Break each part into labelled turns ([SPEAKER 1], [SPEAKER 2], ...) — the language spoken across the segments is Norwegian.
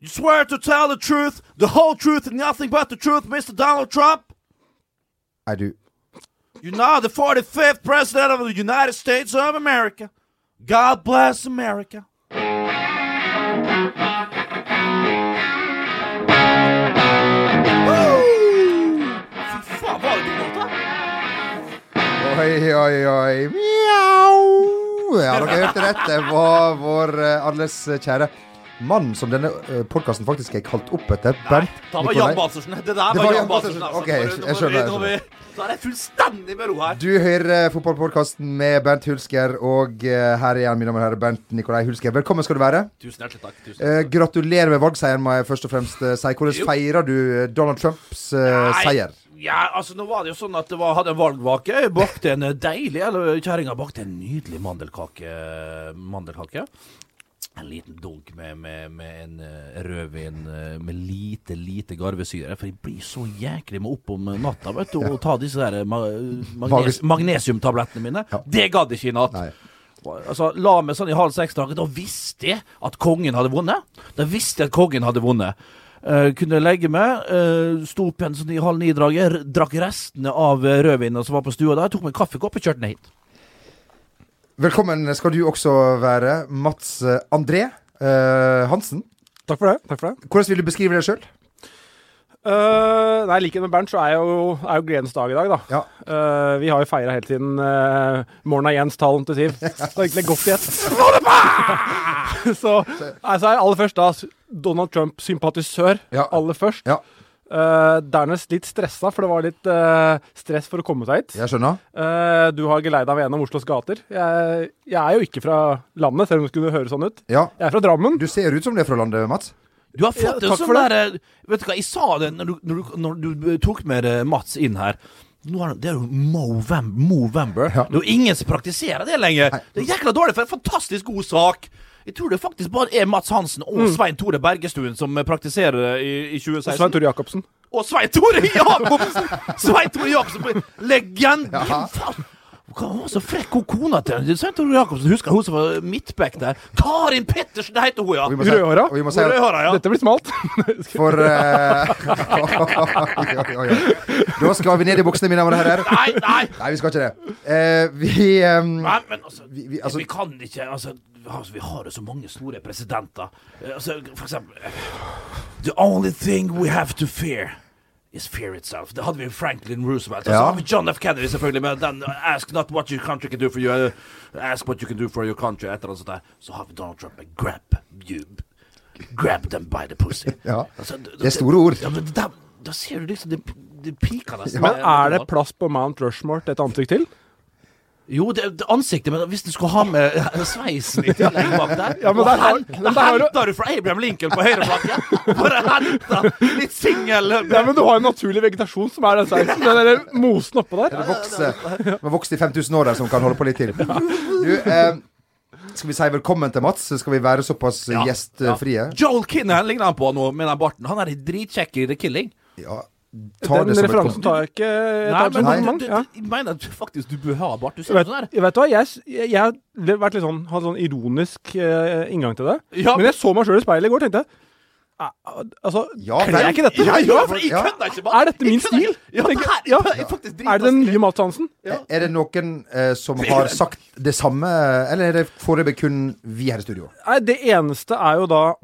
[SPEAKER 1] You swear to tell the truth, the whole truth, and nothing but the truth, Mr. Donald Trump?
[SPEAKER 2] I do.
[SPEAKER 1] You're now the 45th President of the United States of America. God bless America. Woo! Fy faen, var det de låta?
[SPEAKER 2] Oi, oi, oi. Mjau. Ja, dere hørte rett. Det var vår eh, alles kjære mann som denne podkasten faktisk er kalt opp etter. Bernt
[SPEAKER 1] Det var Jan
[SPEAKER 2] Nikolai.
[SPEAKER 1] Balsersen. Det der
[SPEAKER 2] Det
[SPEAKER 1] var Jan Balsersen.
[SPEAKER 2] Balsersen.
[SPEAKER 1] altså.
[SPEAKER 2] Ok,
[SPEAKER 1] Nå må du- nå må
[SPEAKER 2] jeg skjønner,
[SPEAKER 1] du-
[SPEAKER 2] jeg
[SPEAKER 1] nå må vi- Så er det fullstendig med ro her.
[SPEAKER 2] Du hører fotballpodkasten med Bernt Hulsker, og eh, her er han, mine damer og herrer, Bernt Nikolai Hulsker. Velkommen skal du være.
[SPEAKER 1] Tusen hjertelig takk. Tusen
[SPEAKER 2] Eh,
[SPEAKER 1] hjertelig takk.
[SPEAKER 2] gratulerer med valgseieren, må jeg først og fremst eh, si. Hvordan
[SPEAKER 1] Jo.
[SPEAKER 2] feirer du eh, Donald Trumps eh,
[SPEAKER 1] Nei,
[SPEAKER 2] seier?
[SPEAKER 1] Ja, altså nå var det jo sånn at det var, hadde en valgvake. Jeg bakte en eh, deilig Eller kjerringa bakte en nydelig mandelkake. eh, Mandelkake. En liten dunk med, med, med en eh, rødvin eh, med lite, lite garvesyre. For jeg blir så jæklig med opp om natta, vet du, og ta disse der eh, ma magnes
[SPEAKER 2] Magnus-
[SPEAKER 1] magnesiumtablettene mine.
[SPEAKER 2] Ja.
[SPEAKER 1] Det gadd jeg ikke i natt.
[SPEAKER 2] Nei.
[SPEAKER 1] Altså, la meg sånn i halv seks-dagen. Da visste jeg at kongen hadde vunnet. Da visste jeg at kongen hadde vunnet. Eh, kunne legge meg, uh, sto opp igjen sånn i halv ni-draget, r- drakk restene av eh, rødvinen som var på stua der, tok meg en kaffekopp og kjørte ned hit.
[SPEAKER 2] Velkommen skal du også være, Mats eh, André eh, Hansen.
[SPEAKER 3] Takk for det. takk for det.
[SPEAKER 2] Hvordan vil du beskrive deg sjøl?
[SPEAKER 3] Eh, nei, I likhet med Bernt så er jo, er jo gledens dag i dag, da.
[SPEAKER 2] Ja.
[SPEAKER 3] Eh, vi har jo feira helt siden uh, morgenen av Jens Tallen til Siv. Det er egentlig godt gjett. så altså, er aller først da s- Donald Trump-sympatisør.
[SPEAKER 2] Ja.
[SPEAKER 3] Aller først.
[SPEAKER 2] Ja.
[SPEAKER 3] Eh, dernest litt stressa, for det var litt eh, stress for å komme seg hit.
[SPEAKER 2] Jeg skjønner.
[SPEAKER 3] Eh, du har geleida meg gjennom Oslos gater. Jeg, jeg er jo ikke fra landet, selv om det skulle høre sånn ut.
[SPEAKER 2] Ja.
[SPEAKER 3] Jeg er fra Drammen.
[SPEAKER 2] Du ser ut som det er fra landet, Mats.
[SPEAKER 1] Du har fått
[SPEAKER 3] Ja,
[SPEAKER 1] en
[SPEAKER 3] takk
[SPEAKER 1] sånn
[SPEAKER 3] for det.
[SPEAKER 1] derre Vet du hva, jeg sa det når du, når du, når du tok med eh, Mats inn her. Nå er det, det er jo Movem- Movember.
[SPEAKER 2] Ja.
[SPEAKER 1] Det er jo ingen som praktiserer det lenger. Det er jækla dårlig for en fantastisk god sak. Jeg tror det faktisk bare er Mats Hansen og Svein Tore Bergestuen som eh, praktiserer det i, i 2016.
[SPEAKER 3] Mm. Svein Tore Jacobsen.
[SPEAKER 1] Og Svein Tore Jacobsen! Svein Tore Jacobsen, legenden! Faen. Hva var så frekk hun kona til? Svein Tore Jacobsen, husker hun som var midtback der? Karin Pettersen, det heter hun, ja!
[SPEAKER 2] Og vi må si-
[SPEAKER 3] Rødhåra.
[SPEAKER 2] og vi må si at-
[SPEAKER 1] Rødhåra, ja.
[SPEAKER 3] Dette blir smalt.
[SPEAKER 2] For eh, oi, oi, oi, oi. Da skal vi ned i buksene, mine damer og herrer.
[SPEAKER 1] Nei, nei!
[SPEAKER 2] Nei, vi skal ikke det. Eh, vi ehm,
[SPEAKER 1] Nei, men altså,
[SPEAKER 2] Vi-
[SPEAKER 1] vi,
[SPEAKER 2] vi- altså-
[SPEAKER 1] kan ikke altså, altså, Vi har jo så mange store presidenter. Eh, Altså, for eksempel eh, The only thing we have to fear is fear itself. Det hadde vi jo Franklin Roosevelt. Og så
[SPEAKER 2] Ja.
[SPEAKER 1] har vi John F. Kennedy, selvfølgelig, med den eh, Ask not what your country can do for you, eh, ask what you can do for your country, et eller annet sånt der. Så har vi Donald Trump med grab you. Grab them by the pussy.
[SPEAKER 2] Ja.
[SPEAKER 1] Altså, d-
[SPEAKER 2] Det er store ord.
[SPEAKER 1] Ja, men da, da ser du liksom det, det piker nesten.
[SPEAKER 3] Men er det plass på Mount Rushmore til et ansikt til?
[SPEAKER 1] Jo, det, det ansiktet, men hvis du skulle ha med eh, sveisen i tillegg bak der
[SPEAKER 3] Ja, men
[SPEAKER 1] og
[SPEAKER 3] der har-
[SPEAKER 1] hent-
[SPEAKER 3] men
[SPEAKER 1] Da
[SPEAKER 3] der har du-
[SPEAKER 1] henter du fra Abraham Lincoln på høyrebakken! Bare henta litt singel
[SPEAKER 3] Nei, men du har jo naturlig vegetasjon som er den sveisen. Den der mosen oppå der.
[SPEAKER 2] Det vokser. Vi har vokst i 5000 år der, som kan holde på litt til. Du, ehm, skal vi si velkommen til Mats? Skal vi være såpass eh,
[SPEAKER 1] Ja.
[SPEAKER 2] gjestfrie?
[SPEAKER 1] Joel Kinnan ligner han på nå, med den barten. Han er dritkjekk i The Killing.
[SPEAKER 2] Ja. Ta
[SPEAKER 3] Den
[SPEAKER 2] det som et kompliment.
[SPEAKER 3] referansen tar jeg ikke. Jeg
[SPEAKER 1] Nei,
[SPEAKER 3] tar det
[SPEAKER 1] men
[SPEAKER 3] som
[SPEAKER 1] du,
[SPEAKER 3] kompliment,
[SPEAKER 1] du,
[SPEAKER 3] ja.
[SPEAKER 1] du, jeg mener at faktisk du bør ha bart. Du
[SPEAKER 3] Jeg
[SPEAKER 1] ser sånn ut
[SPEAKER 3] Vet,
[SPEAKER 1] som der.
[SPEAKER 3] jeg vet du hva, jeg, s- jeg, jeg har vært litt sånn, hadde sånn ironisk eh, inngang til det.
[SPEAKER 1] Ja,
[SPEAKER 3] Men jeg så meg sjøl i speilet i går, tenkte jeg. "Ah, ah, Altså,
[SPEAKER 2] Ja,
[SPEAKER 3] kler jeg ikke dette?
[SPEAKER 1] Ja, ja, for jeg
[SPEAKER 2] Ja.
[SPEAKER 1] kødder ikke,
[SPEAKER 3] Er dette min
[SPEAKER 1] Jeg kødder ikke.
[SPEAKER 3] stil?
[SPEAKER 1] Ja,
[SPEAKER 3] Tenker-
[SPEAKER 1] det her,
[SPEAKER 3] ja.
[SPEAKER 1] jeg er faktisk
[SPEAKER 3] Er det den
[SPEAKER 1] dritvanskelig.
[SPEAKER 3] nye Mats Hansen?
[SPEAKER 1] Ja.
[SPEAKER 2] Er det noen eh, som har sagt det samme, eller er det foreløpig kun vi her i studio?
[SPEAKER 3] Nei, det eneste er jo da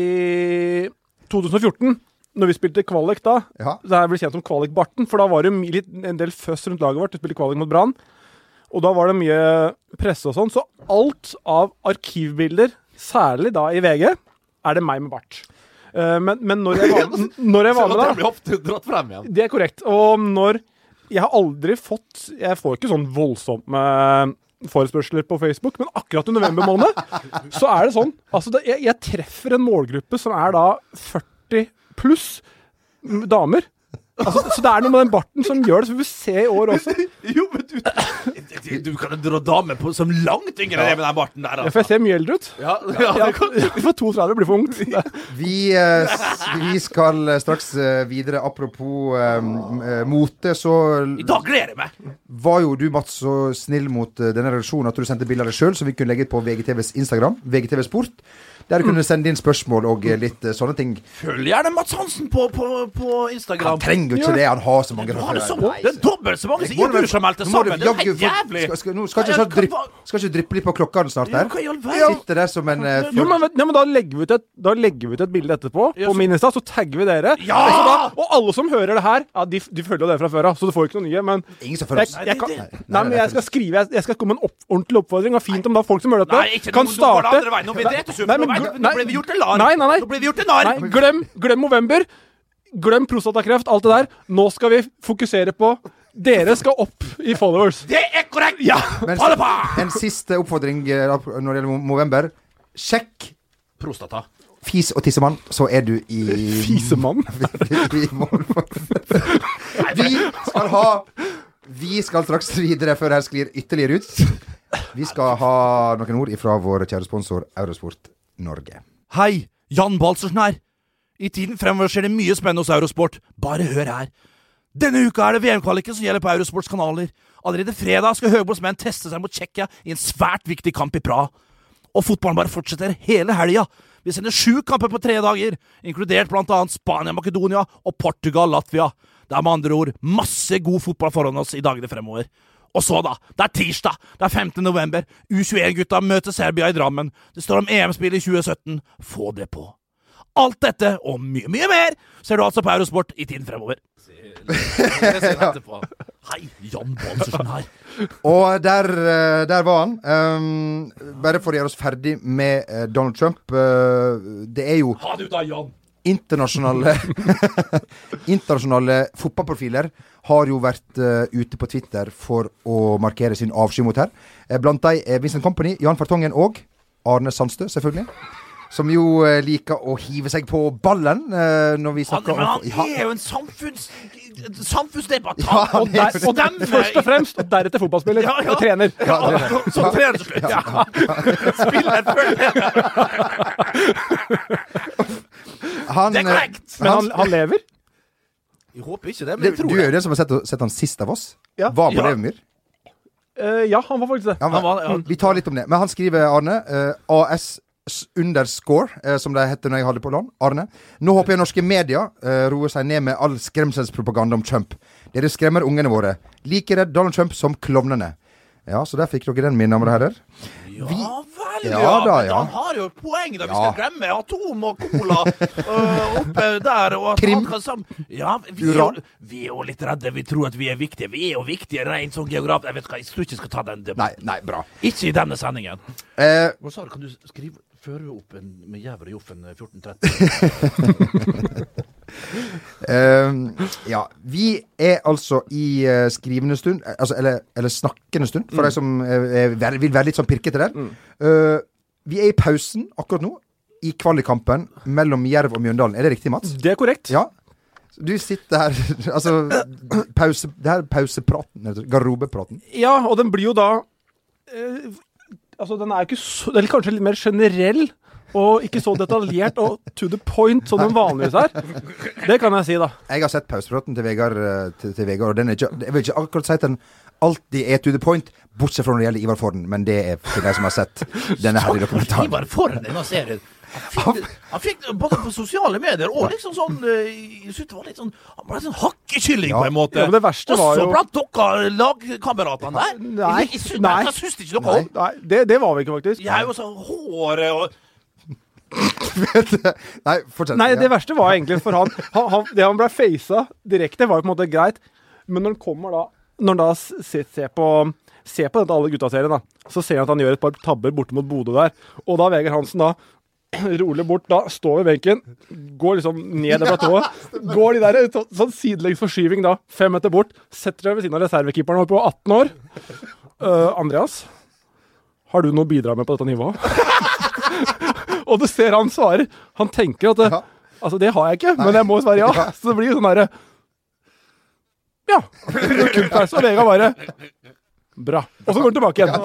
[SPEAKER 3] i 2014, når vi spilte kvalik da.
[SPEAKER 2] Ja.
[SPEAKER 3] Det her ble kjent som kvalikbarten, for da var det jo mi- litt, en del føss rundt laget vårt. Vi spilte kvalik mot Brann. Og da var det mye presse og sånn. Så alt av arkivbilder, særlig da i VG, er det meg med bart. Eh, Men, men når jeg var, n- når jeg var
[SPEAKER 1] Selv
[SPEAKER 3] med
[SPEAKER 1] om
[SPEAKER 3] da
[SPEAKER 1] den blir ofte dratt frem igjen.
[SPEAKER 3] det er korrekt. Og når Jeg har aldri fått Jeg får ikke sånn voldsomme forespørsler på Facebook, men akkurat i november måned så er det sånn. Altså, det, jeg, jeg treffer en målgruppe som er da 40 pluss m, damer. Altså, så det er noe med den barten som gjør det, som vi ser i år også.
[SPEAKER 1] Jo, men du Du kan jo dra damer på som langt yngre enn det med den barten der. altså.
[SPEAKER 3] Ja, for jeg ser mye eldre ut.
[SPEAKER 1] Ja, ja,
[SPEAKER 3] Ja,
[SPEAKER 1] det kan
[SPEAKER 3] for 32 blir for ungt.
[SPEAKER 2] Vi, eh, s- vi skal eh, straks eh, videre. Apropos eh, m- eh, mote, så
[SPEAKER 1] I dag gleder jeg meg!
[SPEAKER 2] var jo du, Mats, så snill mot eh, denne redaksjonen at du sendte bilder av deg sjøl, som vi kunne legge ut på VGTVs Instagram. VGTV Sport. Der du kunne sende inn spørsmål og eh, litt eh, sånne ting.
[SPEAKER 1] Følg gjerne Mats Hansen på, på, på
[SPEAKER 2] Han
[SPEAKER 1] Instagram.
[SPEAKER 2] trenger jo ikke det, han har så mange
[SPEAKER 1] Du har det, som,
[SPEAKER 2] Nei,
[SPEAKER 1] det er dobbelt så mange som
[SPEAKER 2] Nå må
[SPEAKER 1] Ibu
[SPEAKER 2] du-
[SPEAKER 1] som meldte
[SPEAKER 2] nå må du
[SPEAKER 1] sammen! Det er
[SPEAKER 2] jaggu
[SPEAKER 1] helt
[SPEAKER 2] få-
[SPEAKER 1] jævlig!
[SPEAKER 2] Skal, skal, nå skal ikke
[SPEAKER 1] Ja,
[SPEAKER 2] sånn
[SPEAKER 1] kan
[SPEAKER 2] drypp-
[SPEAKER 1] bare-
[SPEAKER 2] skal ikke dryppe litt på klokkene snart
[SPEAKER 1] Ja,
[SPEAKER 2] her?
[SPEAKER 1] hva i all verden?
[SPEAKER 2] Sitter der som en
[SPEAKER 1] Jo,
[SPEAKER 2] eh,
[SPEAKER 3] Jo,
[SPEAKER 2] fjol-
[SPEAKER 3] men, vet- ja, men da, legger vi ut et, da legger vi ut et bilde etterpå
[SPEAKER 1] Ja,
[SPEAKER 3] på
[SPEAKER 1] så-
[SPEAKER 3] min Insta, så tagger vi dere.
[SPEAKER 1] Ja!
[SPEAKER 3] Så da, og alle som hører det her, ja, de, f- de følger jo det fra før av, så du får ikke noe nye. Men
[SPEAKER 2] Ingen som følger
[SPEAKER 3] jeg,
[SPEAKER 2] oss.
[SPEAKER 3] jeg, kan,
[SPEAKER 1] Nei,
[SPEAKER 3] nei,
[SPEAKER 1] det-
[SPEAKER 2] nei,
[SPEAKER 3] men
[SPEAKER 2] nei,
[SPEAKER 3] jeg skal skrive Jeg, jeg skal komme med en opp, ordentlig oppfordring. Og fint om da folk som hører
[SPEAKER 1] Nei,
[SPEAKER 3] dette,
[SPEAKER 1] ikke
[SPEAKER 3] kan
[SPEAKER 1] nå- nå går det
[SPEAKER 3] starte
[SPEAKER 1] andre veien. Nå blir det rett og slett-
[SPEAKER 3] Nei, men
[SPEAKER 1] nå ble-
[SPEAKER 3] gl-
[SPEAKER 1] nå ble vi gjort til narr.
[SPEAKER 3] Nei, nei, nei.
[SPEAKER 1] Nå ble vi gjort til narr.
[SPEAKER 3] Nei, glem, glem november. Glem prostatakreft, alt det der. Nå skal vi fokusere på Dere skal opp i followers.
[SPEAKER 1] Det er korrekt!
[SPEAKER 3] Ja!
[SPEAKER 2] Men
[SPEAKER 1] Ha det bra!
[SPEAKER 2] en siste oppfordring eh, når det gjelder november. Sjekk
[SPEAKER 1] Prostata.
[SPEAKER 2] fis og tissemann, så er du i
[SPEAKER 3] Fisemann.
[SPEAKER 2] i mål. Vi skal ha Vi skal straks videre før her sklir ytterligere ut. Vi skal ha noen ord ifra vår kjære sponsor Eurosport Norge.
[SPEAKER 1] Hei, Jan Balsersen her. I tiden fremover skjer det mye spennende hos Eurosport. Bare hør her. Denne uka er det VM-kvaliken som gjelder på Eurosports kanaler. Allerede fredag skal Høgbols menn teste seg mot Tsjekkia i en svært viktig kamp i Praha. Og fotballen bare fortsetter hele helga. Vi sender sju kamper på tre dager, inkludert blant annet Spania, Makedonia og Portugal, Latvia. Det er med andre ord masse god fotball foran oss i dagene fremover. Og så, da! Det er tirsdag! Det er 15. november. U21-gutta møter Serbia i Drammen. Det står om EM-spill i 2017. Få det på. Alt dette og mye, mye mer ser du altså på Eurosport i tiden fremover. Hei, Jan Balsersen her.
[SPEAKER 2] Og der, eh, der var han. Um, bare for å gjøre oss ferdig med eh, Donald Trump. eh, det er jo
[SPEAKER 1] Ha det ut av Jan!
[SPEAKER 2] internasjonale Internasjonale fotballprofiler har jo vært eh, ute på Twitter for å markere sin avsky mot her. Eh, blant de er Vincent Company, Jan Fartongen og Arne Sandstø, selvfølgelig. Som jo eh, liker å hive seg på ballen eh, når vi
[SPEAKER 1] Han,
[SPEAKER 2] snakker
[SPEAKER 1] men
[SPEAKER 2] om
[SPEAKER 1] han er jo en samfunns, samfunnsdebattant!
[SPEAKER 2] Ja, han
[SPEAKER 1] og, der,
[SPEAKER 2] er-
[SPEAKER 1] og dem
[SPEAKER 3] Først og fremst, og deretter fotballspiller.
[SPEAKER 1] Ja, ja.
[SPEAKER 3] Og trener.
[SPEAKER 1] Ja, som- Som trener til slutt, ja. Spiller før det.
[SPEAKER 2] Han,
[SPEAKER 1] Det er
[SPEAKER 2] eh,
[SPEAKER 1] korrekt.
[SPEAKER 3] Men han, han lever.
[SPEAKER 1] Jeg håper ikke det, men
[SPEAKER 2] det,
[SPEAKER 1] jeg
[SPEAKER 2] du
[SPEAKER 1] tror
[SPEAKER 2] er
[SPEAKER 1] det.
[SPEAKER 2] jo den som har sett, sett han sist av oss.
[SPEAKER 3] Ja.
[SPEAKER 2] Var på
[SPEAKER 1] Ja.
[SPEAKER 2] Levermyr.
[SPEAKER 3] Eh, ja, han var faktisk det.
[SPEAKER 2] Ja,
[SPEAKER 3] Mm.
[SPEAKER 2] men-
[SPEAKER 1] Han var, ja.
[SPEAKER 2] Vi tar litt om det. Men han skriver, Arne, eh, AS s- underscore, eh, som det heter når jeg hadde på land. Arne. Nå håper jeg norske medier eh, roer seg ned med all skremselspropaganda om Trump. Dere skremmer ungene våre. Like redd Donald Trump som klovnene. Ja, så der fikk dere den, mine damer og herrer.
[SPEAKER 1] Ja vel,
[SPEAKER 2] Ja
[SPEAKER 1] ja.
[SPEAKER 2] da,
[SPEAKER 1] men
[SPEAKER 2] ja.
[SPEAKER 1] Han har jo et poeng. da Vi
[SPEAKER 2] Ja.
[SPEAKER 1] skal glemme atom og cola øh, oppe der. Og at
[SPEAKER 2] Krim.
[SPEAKER 1] han kan sam ja, vi, er
[SPEAKER 2] Uran.
[SPEAKER 1] jo, vi er jo litt redde. Vi tror at vi er viktige. Vi er jo viktige rent som geograf. Jeg vet hva, jeg tror ikke jeg skal ta den
[SPEAKER 2] Nei,
[SPEAKER 1] debatten.
[SPEAKER 2] nei, bra.
[SPEAKER 1] Ikke i denne sendingen.
[SPEAKER 2] Eh,
[SPEAKER 1] Gonzalo, kan du skrive Føre opp en med jævla joffen 1430?
[SPEAKER 2] eh, ja. Vi er altså i eh, skrivende stund, eh, altså, eller, eller snakkende stund, for de som eh, er, ver- vil være litt sånn pirkete der. Eh, vi er i pausen akkurat nå, i kvalikkampen mellom Jerv og Mjøndalen. Er det riktig, Mats?
[SPEAKER 3] Det er korrekt.
[SPEAKER 2] Ja. Du sitter her Altså, pause, det her er pausepraten. heter det. Garderobepraten.
[SPEAKER 3] Ja, og den blir jo da eh, Altså, den er jo ikke så Eller kanskje litt mer generell. Og ikke så detaljert og to the point som den vanligvis er. Det kan jeg si, da.
[SPEAKER 2] Jeg har sett pausepraten til Vegard, eh, til, til Vegard og den er ikke, jeg vil ikke akkurat si at den alltid er to the point, bortsett fra når det gjelder Ivar Forden, men det er for de som har sett denne her i dokumentaren.
[SPEAKER 1] Ivar foran denne serien. Han fikk, det- han fikk det både på sosiale medier og liksom sånn øh, Jeg synes det var litt sånn Han ble litt sånn hakkekylling,
[SPEAKER 2] Ja.
[SPEAKER 1] på en måte.
[SPEAKER 3] Ja, men det verste var
[SPEAKER 1] Også
[SPEAKER 3] jo
[SPEAKER 1] blant dere lagkameratene der.
[SPEAKER 3] Nei,
[SPEAKER 1] Jeg, jeg, syns-
[SPEAKER 3] nei.
[SPEAKER 1] jeg syns ikke dere om.
[SPEAKER 3] Nei, det, det var vi ikke, faktisk.
[SPEAKER 1] Jeg er jo sånn håret og
[SPEAKER 2] Nei, fortsett.
[SPEAKER 3] Nei, det
[SPEAKER 2] ja.
[SPEAKER 3] verste var egentlig for han, han, han Det han ble facet direkte, var jo på en måte greit. Men når han kommer da Når han da s- ser, ser på Ser på denne Alle gutta-serien, da, så ser han at han gjør et par tabber borte mot Bodø der. Og da Vegard Hansen da rolig bort, da står ved benken, går liksom ned det platået. Går de der så, sånn sidelengs forskyving da, fem meter bort, setter seg ved siden av reservekeeperen oppe på 18 år. Eh, Andreas, har du noe å bidra med på dette nivået? Og du ser han svarer. Han tenker at det,
[SPEAKER 2] Ja.
[SPEAKER 3] Altså, det har jeg ikke, men jeg må svare ja.
[SPEAKER 2] Ja.
[SPEAKER 3] Så det blir jo sånn herre Ja. Kullpause, og Vegard bare Bra. Og så går han tilbake igjen.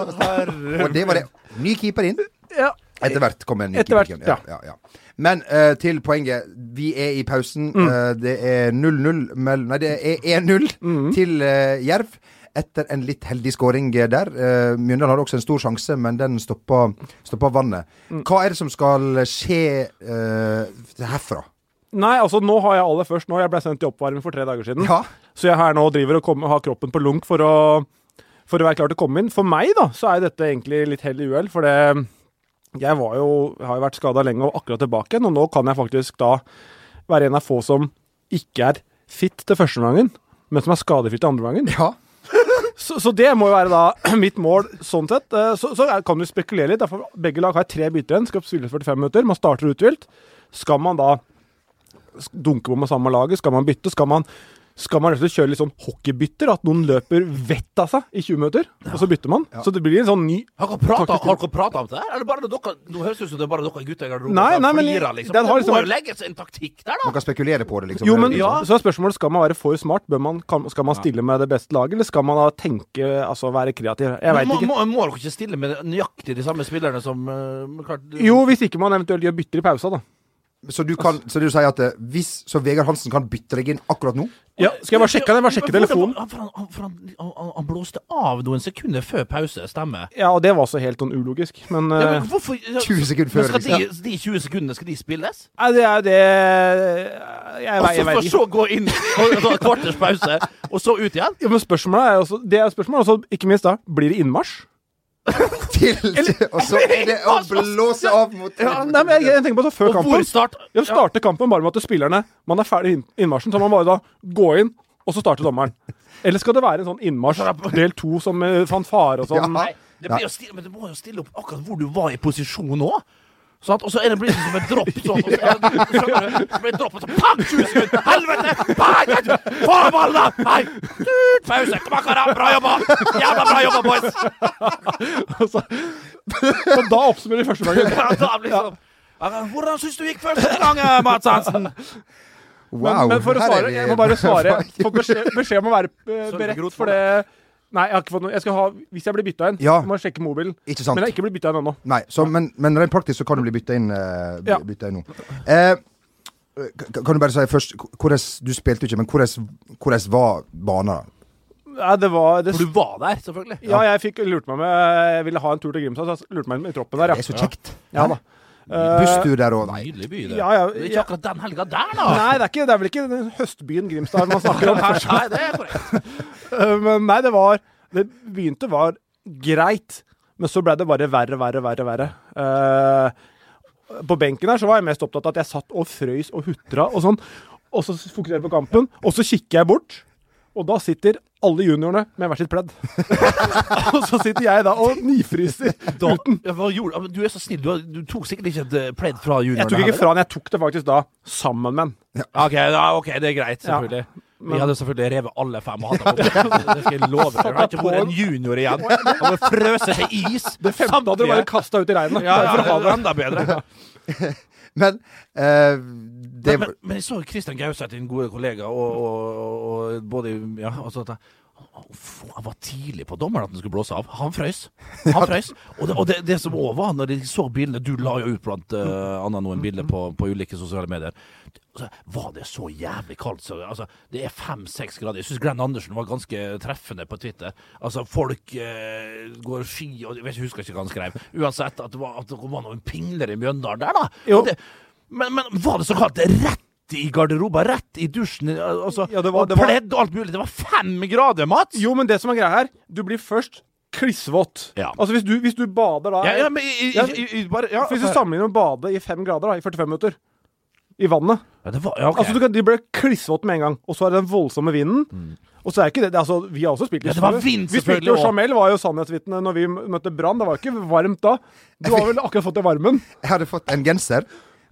[SPEAKER 2] Og det var det. Ny keeper inn.
[SPEAKER 3] Ja.
[SPEAKER 2] Etter hvert kommer en ny
[SPEAKER 3] Etter hvert,
[SPEAKER 2] keeper inn. Ja, ja, ja. Men eh, til poenget. Vi er i
[SPEAKER 3] Mm. Mm.
[SPEAKER 2] pausen. Eh, det er 0-0 mellom Nei, det er 1-0 til eh, Jerv. etter en litt heldig skåring der. Eh, Mjøndalen hadde også en stor sjanse, men den stoppa, stoppa vannet.
[SPEAKER 3] Mm.
[SPEAKER 2] Hva er det som skal skje eh, herfra?
[SPEAKER 3] Nei, altså nå har jeg aller først nå. Jeg ble sendt i oppvarming for tre dager siden.
[SPEAKER 2] Ja.
[SPEAKER 3] Så jeg her nå driver og kommer, har kroppen på lunk for å, for å være klar til å komme inn. For meg da, så er dette egentlig litt hell i uhell, for det, jeg var jo, jeg har jo vært skada lenge og akkurat tilbake igjen, og nå kan jeg faktisk da være en av få som ikke er fit til første gangen, men som er skadefri til andre gangen.
[SPEAKER 2] ja.
[SPEAKER 3] Så, så det må jo være da mitt mål, sånn sett. Eh, Så, så er- kan du spekulere litt. Derfor, begge lag har tre bytter igjen, skal spille 45 minutter. Man starter uthvilt. Skal man da s- dunke på med samme laget? Skal man bytte? Skal man, skal man rett og slett kjøre litt sånn hockeybytter? At noen løper vettet av seg i 20 minutter, og så bytter man? Så det blir en sånn ny
[SPEAKER 1] Har dere prata har dere pratet om det her? Eller bare dere, nå høres det ut som det er bare dere gutter i garderoben
[SPEAKER 3] Nei,
[SPEAKER 1] som
[SPEAKER 3] nei, men
[SPEAKER 1] flirer,
[SPEAKER 3] jeg-
[SPEAKER 1] liksom.
[SPEAKER 3] den har
[SPEAKER 1] Det må
[SPEAKER 3] liksom
[SPEAKER 1] jo legges en taktikk der,
[SPEAKER 2] Man
[SPEAKER 1] da.
[SPEAKER 2] kan spekulere på det, liksom.
[SPEAKER 3] Jo, men
[SPEAKER 2] Det er jo
[SPEAKER 1] Ja.
[SPEAKER 3] så er spørsmålet skal man være for smart. Bør man, kan, skal man stille med det beste laget, eller skal man da tenke, altså være kreativ? Jeg
[SPEAKER 1] Men
[SPEAKER 3] veit
[SPEAKER 1] Må,
[SPEAKER 3] ikke.
[SPEAKER 1] må, må dere ikke stille med nøyaktig de samme spillerne som eh, men klart,
[SPEAKER 3] Jo, hvis ikke man eventuelt gjør bytter i pausa, da.
[SPEAKER 2] Så du, kan, så du sier at eh, hvis så Vegard Hansen kan bytte deg inn akkurat nå
[SPEAKER 3] Ja, skal jeg bare sjekke det? Bare sjekke
[SPEAKER 1] Men hvordan-
[SPEAKER 3] telefonen.
[SPEAKER 1] Han, for han, han, for han, han, han blåste av noen sekunder før pause, stemmer?
[SPEAKER 3] Ja, og det var også helt sånn ulogisk, men,
[SPEAKER 1] Ja,
[SPEAKER 3] eh,
[SPEAKER 1] men hvorfor,
[SPEAKER 2] 20 sekunder
[SPEAKER 1] Men
[SPEAKER 2] før.
[SPEAKER 1] Skal
[SPEAKER 2] Liksom.
[SPEAKER 1] de, de 20 sekundene skal de spilles?
[SPEAKER 3] Nei, det er jo det
[SPEAKER 1] Og
[SPEAKER 3] Jeg, jeg, jeg
[SPEAKER 1] så
[SPEAKER 3] vet
[SPEAKER 1] for
[SPEAKER 3] ikke.
[SPEAKER 1] Altså, så gå inn og ta et kvarters pause, og så ut igjen?
[SPEAKER 3] Ja, men spørsmålet er jo også, det er jo spørsmålet også, ikke minst da, blir det innmarsj?
[SPEAKER 2] Til, til, og så er det å blåse av mot
[SPEAKER 3] Ja, nei, men jeg, jeg tenker på så før
[SPEAKER 1] Og hvor
[SPEAKER 3] kampen.
[SPEAKER 1] start
[SPEAKER 3] Ja, starte kampen bare med at spillerne Man er ferdig inn- innmarsjen, så man bare da gå inn, og så starte dommeren. Eller skal det være en sånn innmarsj del to som eh, fanfare og sånn?
[SPEAKER 2] Ja.
[SPEAKER 1] Nei, det blir jo stille, men du må jo stille opp akkurat hvor du var i posisjon nå. Sant? Og så er det blitt som et dropp. Sånn, og så, ja, du, skjønner du? Så blir det dropp, og så pang! 20 sekunder! Helvete! Bang! Nei, du- Få av ballen, da! Nei! Tut, Pause! Kom an, karer! Bra jobba! Jævla bra jobba, boys!
[SPEAKER 3] Så, så da oppsummerer vi første gangen.
[SPEAKER 1] Ja, da blir det sånn. Ja, Hvordan syns du gikk første gang, eh, Mads Hansen?
[SPEAKER 3] Men,
[SPEAKER 2] Wow.
[SPEAKER 3] men for å
[SPEAKER 2] her er
[SPEAKER 3] svare,
[SPEAKER 2] vi-
[SPEAKER 3] jeg må bare svare. Få beskjed, beskjed om å være eh,
[SPEAKER 1] Sørg for
[SPEAKER 3] beredt
[SPEAKER 1] grot for
[SPEAKER 3] for det. Nei, jeg har ikke fått noe. Jeg skal ha, hvis jeg blir bytta inn,
[SPEAKER 2] Ja.
[SPEAKER 3] må jeg sjekke mobilen.
[SPEAKER 2] Ikke sant.
[SPEAKER 3] Men jeg er ikke blitt bytta inn ennå.
[SPEAKER 2] Nei, så, men, men rent praktisk så kan du bli bytta inn, eh, by-
[SPEAKER 3] Ja.
[SPEAKER 2] byttet inn nå. Eh, k- kan du bare si først k- hvordan Du spilte jo ikke, men hvordan hvordan var banen?
[SPEAKER 3] Nei, det var det,
[SPEAKER 1] For du var der, selvfølgelig.
[SPEAKER 3] Ja, jeg fikk lurt meg med Jeg ville ha en tur til Grimstad, så jeg lurte meg inn i troppen der,
[SPEAKER 2] Det
[SPEAKER 3] ja.
[SPEAKER 2] er så kjekt.
[SPEAKER 3] Ja da. Eh,
[SPEAKER 2] Busstur der og Nei.
[SPEAKER 1] Nydelig by, det.
[SPEAKER 3] Ja, ja,
[SPEAKER 1] Det er
[SPEAKER 3] ja.
[SPEAKER 1] ikke akkurat den helga der, da.
[SPEAKER 3] Nei, det er, ikke, det er vel ikke den høstbyen Grimstad man snakker om her.
[SPEAKER 1] Nei, det er korrekt.
[SPEAKER 3] Eh, Men nei, det var Det begynte var greit, men så ble det bare verre, verre, verre, verre. Eh, på benken her så var jeg mest opptatt av at jeg satt og frøys og hutra og sånn. Og så fokuserte jeg på kampen, og så kikker jeg bort, og da sitter alle juniorene med hvert sitt pledd. og så sitter jeg da og nifryser
[SPEAKER 1] Da,
[SPEAKER 3] uten.
[SPEAKER 1] ja, hva gjorde, ja, men du er så snill. Du, har- du tok sikkert ikke et eh, pledd fra juniorene.
[SPEAKER 3] Jeg tok
[SPEAKER 1] heller.
[SPEAKER 3] ikke fra den, jeg tok det faktisk da sammen med den.
[SPEAKER 1] Ok, ja, ok, det er greit, selvfølgelig. Vi hadde selvfølgelig revet alle fem og hatt dem opp. Det skal jeg love deg. Det har ikke vært en junior igjen. Han har frøset til is.
[SPEAKER 3] Det femte hadde du bare
[SPEAKER 1] Samtlige.
[SPEAKER 3] kasta ut i regnet.
[SPEAKER 1] Ja, ja,
[SPEAKER 3] bare for å ha det.
[SPEAKER 1] enda bedre.
[SPEAKER 2] Men eh, det,
[SPEAKER 1] Men, men, men jeg så jo Christian Gauseth, din gode kollega, og, og, og både i- ja, altså at jeg, han- han- han var tidlig på dommeren at han skulle blåse av. Han frøys. Han frøys. Og det, og det, det som òg var, når de så bildene Du la jo ut blant uh, annet
[SPEAKER 3] Mm.
[SPEAKER 1] noen bilder på, på ulike sosiale medier. Altså, var det så jævlig kaldt? Så, altså, det er fem-seks grader. Jeg syns Glenn Andersen var ganske treffende på Twitter. Altså, folk eh, går ski og jeg, vet, ikke- husker ikke hva han skrev. Uansett at det var, at det var noen pingler i Mjøndalen der, da.
[SPEAKER 3] Jo.
[SPEAKER 1] Og Det, men, men var det så kaldt? Rett i garderoben, rett i dusjen, al- altså,
[SPEAKER 3] Ja, det var-
[SPEAKER 1] og
[SPEAKER 3] det var-
[SPEAKER 1] pledd og alt mulig. Det var fem grader, Mats!
[SPEAKER 3] Jo, men det som er greia her, du blir først klissvåt.
[SPEAKER 1] Ja.
[SPEAKER 3] Altså, hvis du, hvis du bader da
[SPEAKER 1] Ja, ja, men i, i,
[SPEAKER 3] Ja,
[SPEAKER 1] i, i, bare, ja, eh, altså-
[SPEAKER 3] For Hvis du sammenligner med å bade i fem grader da, i 45 minutter i vannet
[SPEAKER 1] ja, det var, ja, ok.
[SPEAKER 3] Altså, du kan, De ble klissvåte med en gang. Og så er det den voldsomme vinden. Og så er ikke det, det er altså, Vi har også spilt i
[SPEAKER 1] Mm. Ja, det var
[SPEAKER 3] snø.
[SPEAKER 1] vind,
[SPEAKER 3] Vi spilte
[SPEAKER 1] selvfølgelig,
[SPEAKER 3] jo
[SPEAKER 1] og-
[SPEAKER 3] Jamel, var jo sannhetsvitne når vi møtte Brann. Det var ikke varmt da. Du har vel akkurat fått det varmen?
[SPEAKER 2] jeg hadde fått en genser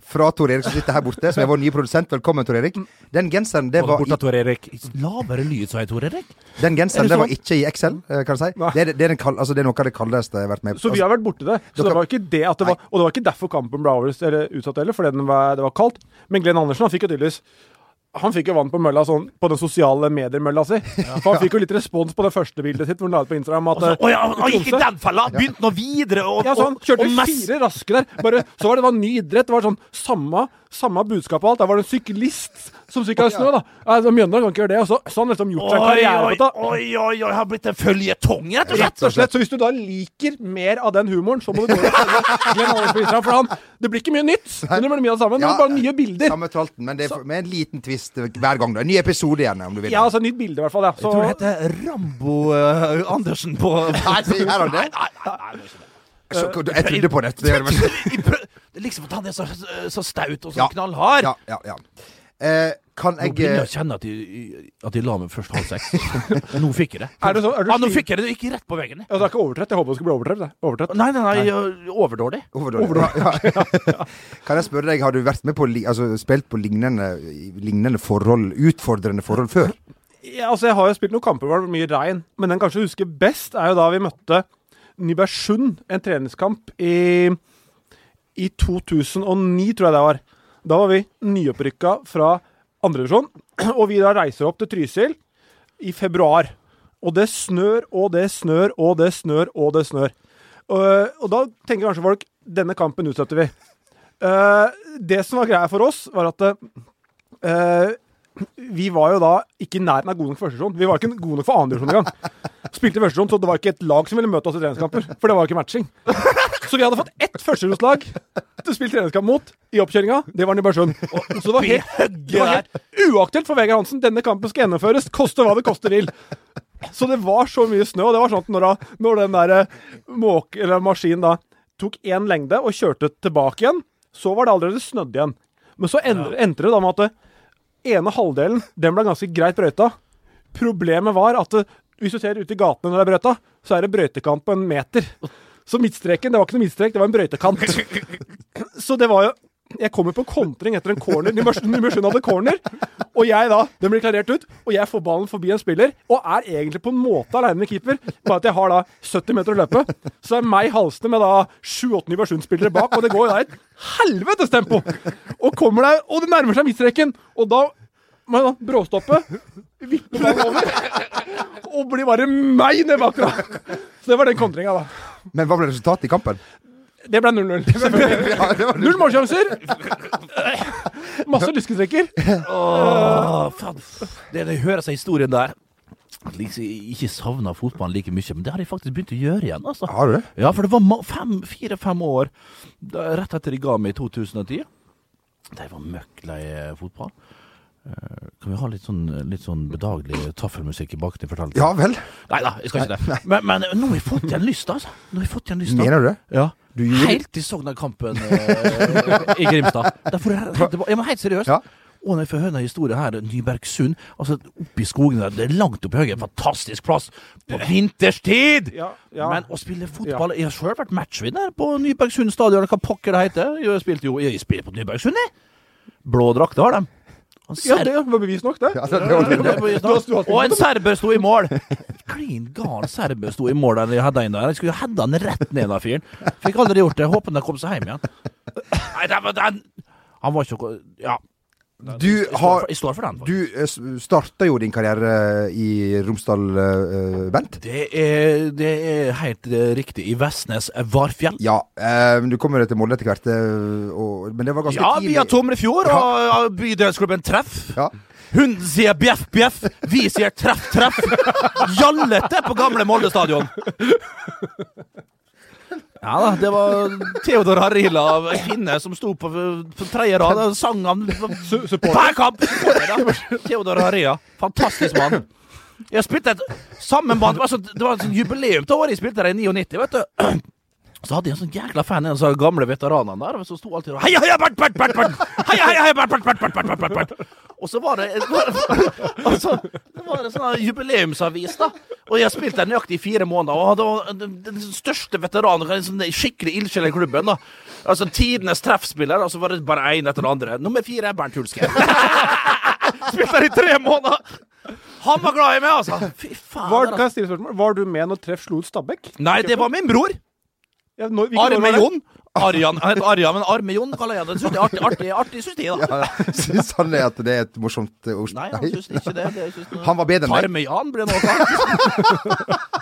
[SPEAKER 2] fra Tor Erik som sitter her borte, som er vår nye produsent. Velkommen, Tor Erik. Den genseren, det var, i,
[SPEAKER 1] Tor Erik. Lavere lyd, sa jeg, Tor Erik.
[SPEAKER 2] den
[SPEAKER 3] Er
[SPEAKER 2] genseren,
[SPEAKER 3] det
[SPEAKER 2] det var
[SPEAKER 3] sånn?
[SPEAKER 2] ikke i Excel, eh, kan jeg si.
[SPEAKER 3] Nei.
[SPEAKER 2] Det er, det er, den kal altså, det er noe av det kaldeste jeg har vært med på. Altså,
[SPEAKER 3] Så
[SPEAKER 1] Altså,
[SPEAKER 3] vi har vært borti det. Så
[SPEAKER 2] Dere-
[SPEAKER 3] det var ikke det at det var, og det var ikke derfor kampen ble avlyst eller utsatt heller, fordi den var, det var kaldt. Men Glenn Andersen han fikk jo tydeligvis han fikk jo vann på mølla sånn, på den sosiale medier-mølla si. For han fikk jo litt respons på det første bildet sitt. hvor han la ut på Instagram at,
[SPEAKER 1] Og så,
[SPEAKER 3] eh,
[SPEAKER 1] Altså, å ja, han gikk i
[SPEAKER 3] Tromsø-
[SPEAKER 1] den fella! Han Begynte nå videre og,
[SPEAKER 3] ja, så han
[SPEAKER 1] og- og
[SPEAKER 3] kjørte
[SPEAKER 1] mess-
[SPEAKER 3] fire raske der. Bare, så var det, det var ny idrett. Det var sånn samme Samme budskap og alt. Der var det en syklist som sykla i snø, da. Altså, Mjøndalen kan ikke gjøre det. Og så, så har han liksom gjort seg
[SPEAKER 1] Oi,
[SPEAKER 3] karriere
[SPEAKER 1] oi,
[SPEAKER 3] på dette.
[SPEAKER 1] oi, oi, oi, har blitt en føljetong, rett og slett!
[SPEAKER 3] Rett og slett. Så hvis du da liker mer av den humoren, så må du gå og følge Glenn Allenspiser. For han, det blir ikke mye nytt, men det blir mye av det samme.
[SPEAKER 2] Ja.
[SPEAKER 3] Men bare nye bilder.
[SPEAKER 2] Samme tralten, men det er for- med en liten twist hver gang. da En ny episode igjen, om du vil.
[SPEAKER 3] Ja, altså nytt bilde, i hvert fall. Ja.
[SPEAKER 1] Jeg tror det
[SPEAKER 3] Så,
[SPEAKER 1] heter Rambo eh, Andersen på
[SPEAKER 2] Nei, sier han det?
[SPEAKER 1] Nei, nei, nei, det er ikke det.
[SPEAKER 2] Så, jeg trodde på det. det, gjør det men-
[SPEAKER 1] I prø- det er liksom at han er så, så staut og så
[SPEAKER 2] Ja.
[SPEAKER 1] knallhard.
[SPEAKER 2] ja, ja, ja. Eh, kan
[SPEAKER 1] Nå
[SPEAKER 2] jeg
[SPEAKER 1] begynner jeg å kjenne at de, at de la meg først halv seks. Nå fikk jeg det. sånn?
[SPEAKER 3] Er det så- er du
[SPEAKER 1] ja, nå
[SPEAKER 3] sli-
[SPEAKER 1] fikk jeg det. Det gikk rett på veggen. jeg.
[SPEAKER 3] ja, du er ikke overtrøtt? Jeg håper du skal bli overtrøtt. da. overtrøtt.
[SPEAKER 1] Nei, nei, nei. jeg- Overdådig.
[SPEAKER 2] Overdådig. Ja, ja. Kan jeg spørre deg, har du vært med på, li- altså, spilt på lignende, lignende forhold, utfordrende forhold før?
[SPEAKER 3] Ja, altså, jeg har jo spilt noen kamper hvor det var mye regn, men den kanskje jeg husker best, er jo da vi møtte Nybergsund, en treningskamp i, i 2009, tror jeg det var. Da var vi nyopprykka fra andredivisjon, og vi da reiser opp til Trysil i februar. Og det snør og det snør og det snør og det snør. Og, og da tenker kanskje folk denne kampen utsetter vi. Eh, det som var greia for oss, var at eh, vi var jo da ikke i nærheten av god nok for første divisjon. Vi var ikke gode nok for andre divisjon engang. Spilte i første divisjon, så det var ikke et lag som ville møte oss i treningskamper. For det var jo ikke matching. Så vi hadde fått ett førstedivisjonslag til å spille treningskamp mot i oppkjøringa. Det var Nybergsund. Og- Så det var helt, det var helt uaktuelt for Vegard Hansen. Denne kampen skal gjennomføres, koste hva det koste vil. Så det var så mye snø, og det var sånn at når, da, når den der eh, måk, eller maskinen da tok én lengde og kjørte tilbake igjen, så var det allerede snødd igjen. Men så endte, endte det da med at det ene halvdelen den ble ganske greit brøyta. Problemet var at eh, hvis du ser ute i gatene når det er brøyta, så er det brøytekant på en meter. Så midtstreken, det var ikke noe midtstrek, det var en brøytekant. Så det var jo Jeg kom jo på kontring etter en corner. Nybergsund Nybergsund hadde corner. Og jeg da, den blir klarert ut, og jeg får ballen forbi en spiller. Og er egentlig på en måte aleine med keeper, bare at jeg har da 70 meter å løpe. Så det er meg halsende med da sju-åtte Nybergsund-spillere bak, og det går jo da i et helvetes tempo! Og kommer der, og det nærmer seg midtstreken, og da må jeg da bråstoppe, vippe ballen over, og blir bare meg ned bakfra! Så det var den kontringa, da.
[SPEAKER 2] Men hva ble resultatet i kampen?
[SPEAKER 3] Det ble 0-0. selvfølgelig.
[SPEAKER 2] Ja, det var
[SPEAKER 3] Null målsjanser! Masse lysketrekker.
[SPEAKER 1] Åh, faen. Det, det hører seg historien der. At liksom jeg ikke savna fotballen like mye, men det har jeg faktisk begynt å gjøre igjen. altså.
[SPEAKER 2] Har du det?
[SPEAKER 1] Ja, for det var fire-fem år da, rett etter de ga meg i 2010. De var møkk lei eh, fotball. Eh, Kan vi ha litt sånn, litt sånn bedagelig taffelmusikk i bakgrunnen? fortellelsen?
[SPEAKER 2] Ja vel?
[SPEAKER 1] Nei da, jeg skal ikke det. Men, men eh, nå har jeg fått igjen lyst, altså. Nå har jeg fått igjen lyst,
[SPEAKER 2] Mener du det?
[SPEAKER 1] Ja.
[SPEAKER 2] Du gjorde-
[SPEAKER 1] Helt til Sogndal-kampen eh, i Grimstad. Derfor er jeg helt tilbake. Ja, men helt seriøst.
[SPEAKER 2] Ja.
[SPEAKER 1] Og når jeg får høre denne historien her, Nybergsund altså Oppi skogene der, det er langt oppi høyden. en Fantastisk plass på vinterstid!
[SPEAKER 3] Ja, ja.
[SPEAKER 1] Men å spille fotball Jeg har sjøl vært matchvinner på Nybergsund stadion, eller hva pokker det heter. Jeg spilte jo jeg spilte på Nybergsund, jeg! Blå drakter har de. Han
[SPEAKER 3] Ja,
[SPEAKER 1] ser-
[SPEAKER 3] det var bevis nok, det.
[SPEAKER 2] Ja, Altså, det, det, var-
[SPEAKER 1] det var- det var-
[SPEAKER 3] du har-
[SPEAKER 1] Og en serber sto i mål! Klin gal serber sto i mål der jeg hadde inn der. Jeg skulle jo hedda han rett ned, den fyren. Fikk aldri gjort det. Håper han kom seg hjem igjen. Nei, det var den Han var ikke Ja.
[SPEAKER 2] du
[SPEAKER 1] Jeg står
[SPEAKER 2] har
[SPEAKER 1] for, jeg står for den. faktisk.
[SPEAKER 2] Du eh, s- starta jo din karriere eh, i Romsdal eh, Bent.
[SPEAKER 1] Det er, det er helt eh, riktig. I Vestnes Varfjell.
[SPEAKER 2] Ja, eh, men du kom jo til Molde etter hvert, eh, og, men det var ganske
[SPEAKER 1] Ja,
[SPEAKER 2] tidlig.
[SPEAKER 1] via Tomrefjord og ja, bydelsklubben Treff.
[SPEAKER 2] Ja.
[SPEAKER 1] Hunden sier bjeff, bjeff. Vi sier treff, treff. Jallete på gamle Molde stadion. Ja da, det var Theodor Harila, ei kvinne som sto på, på tredje rad og sang han
[SPEAKER 3] Su- Support.
[SPEAKER 1] Hver kamp! Theodor Harila. Fantastisk mann. Jeg spilte et sammenband Det var sånn- det var et sånn jubileum til året jeg spilte der i 99, vet du. Så hadde jeg en sånn jækla fan, en av de gamle veteranene der, som sto alltid og Heia, heia, Bert, Bert, Bert! Bert! Heia, heia, heia, Bert, Bert, Bert, Bert, Bert, Bert, Bert, Bert! Og så var det altså, Det var en sånn jubileumsavis, da. Og jeg spilte der nøyaktig i fire måneder, og det var den den største veteranen, en sånn skikkelig ildsjel i klubben, da. Altså tidenes treffspiller, og så var det bare én etter den andre. Nummer fire er Bernt Hulske. Spilte der i tre måneder! Han var glad i meg, altså! Fy faen.
[SPEAKER 3] Var, kan
[SPEAKER 1] altså.
[SPEAKER 3] jeg stille et spørsmål? Var du med når Treff slo ut Stabæk?
[SPEAKER 1] Nei, det var min bror.
[SPEAKER 3] Ja, når, hvilket år var
[SPEAKER 1] Arme
[SPEAKER 3] det?
[SPEAKER 1] Jon. Arjan. Han heter Arjan, men Arme Jon kaller jeg det. Synes det er artig, artig, artig synes de, da.
[SPEAKER 2] Ja, Syns han det at det er et morsomt eh, ord?
[SPEAKER 1] eh, Nei, han synes ikke det. det synes
[SPEAKER 2] Han var bedre enn deg.
[SPEAKER 1] Tarme Jan ble noe annet.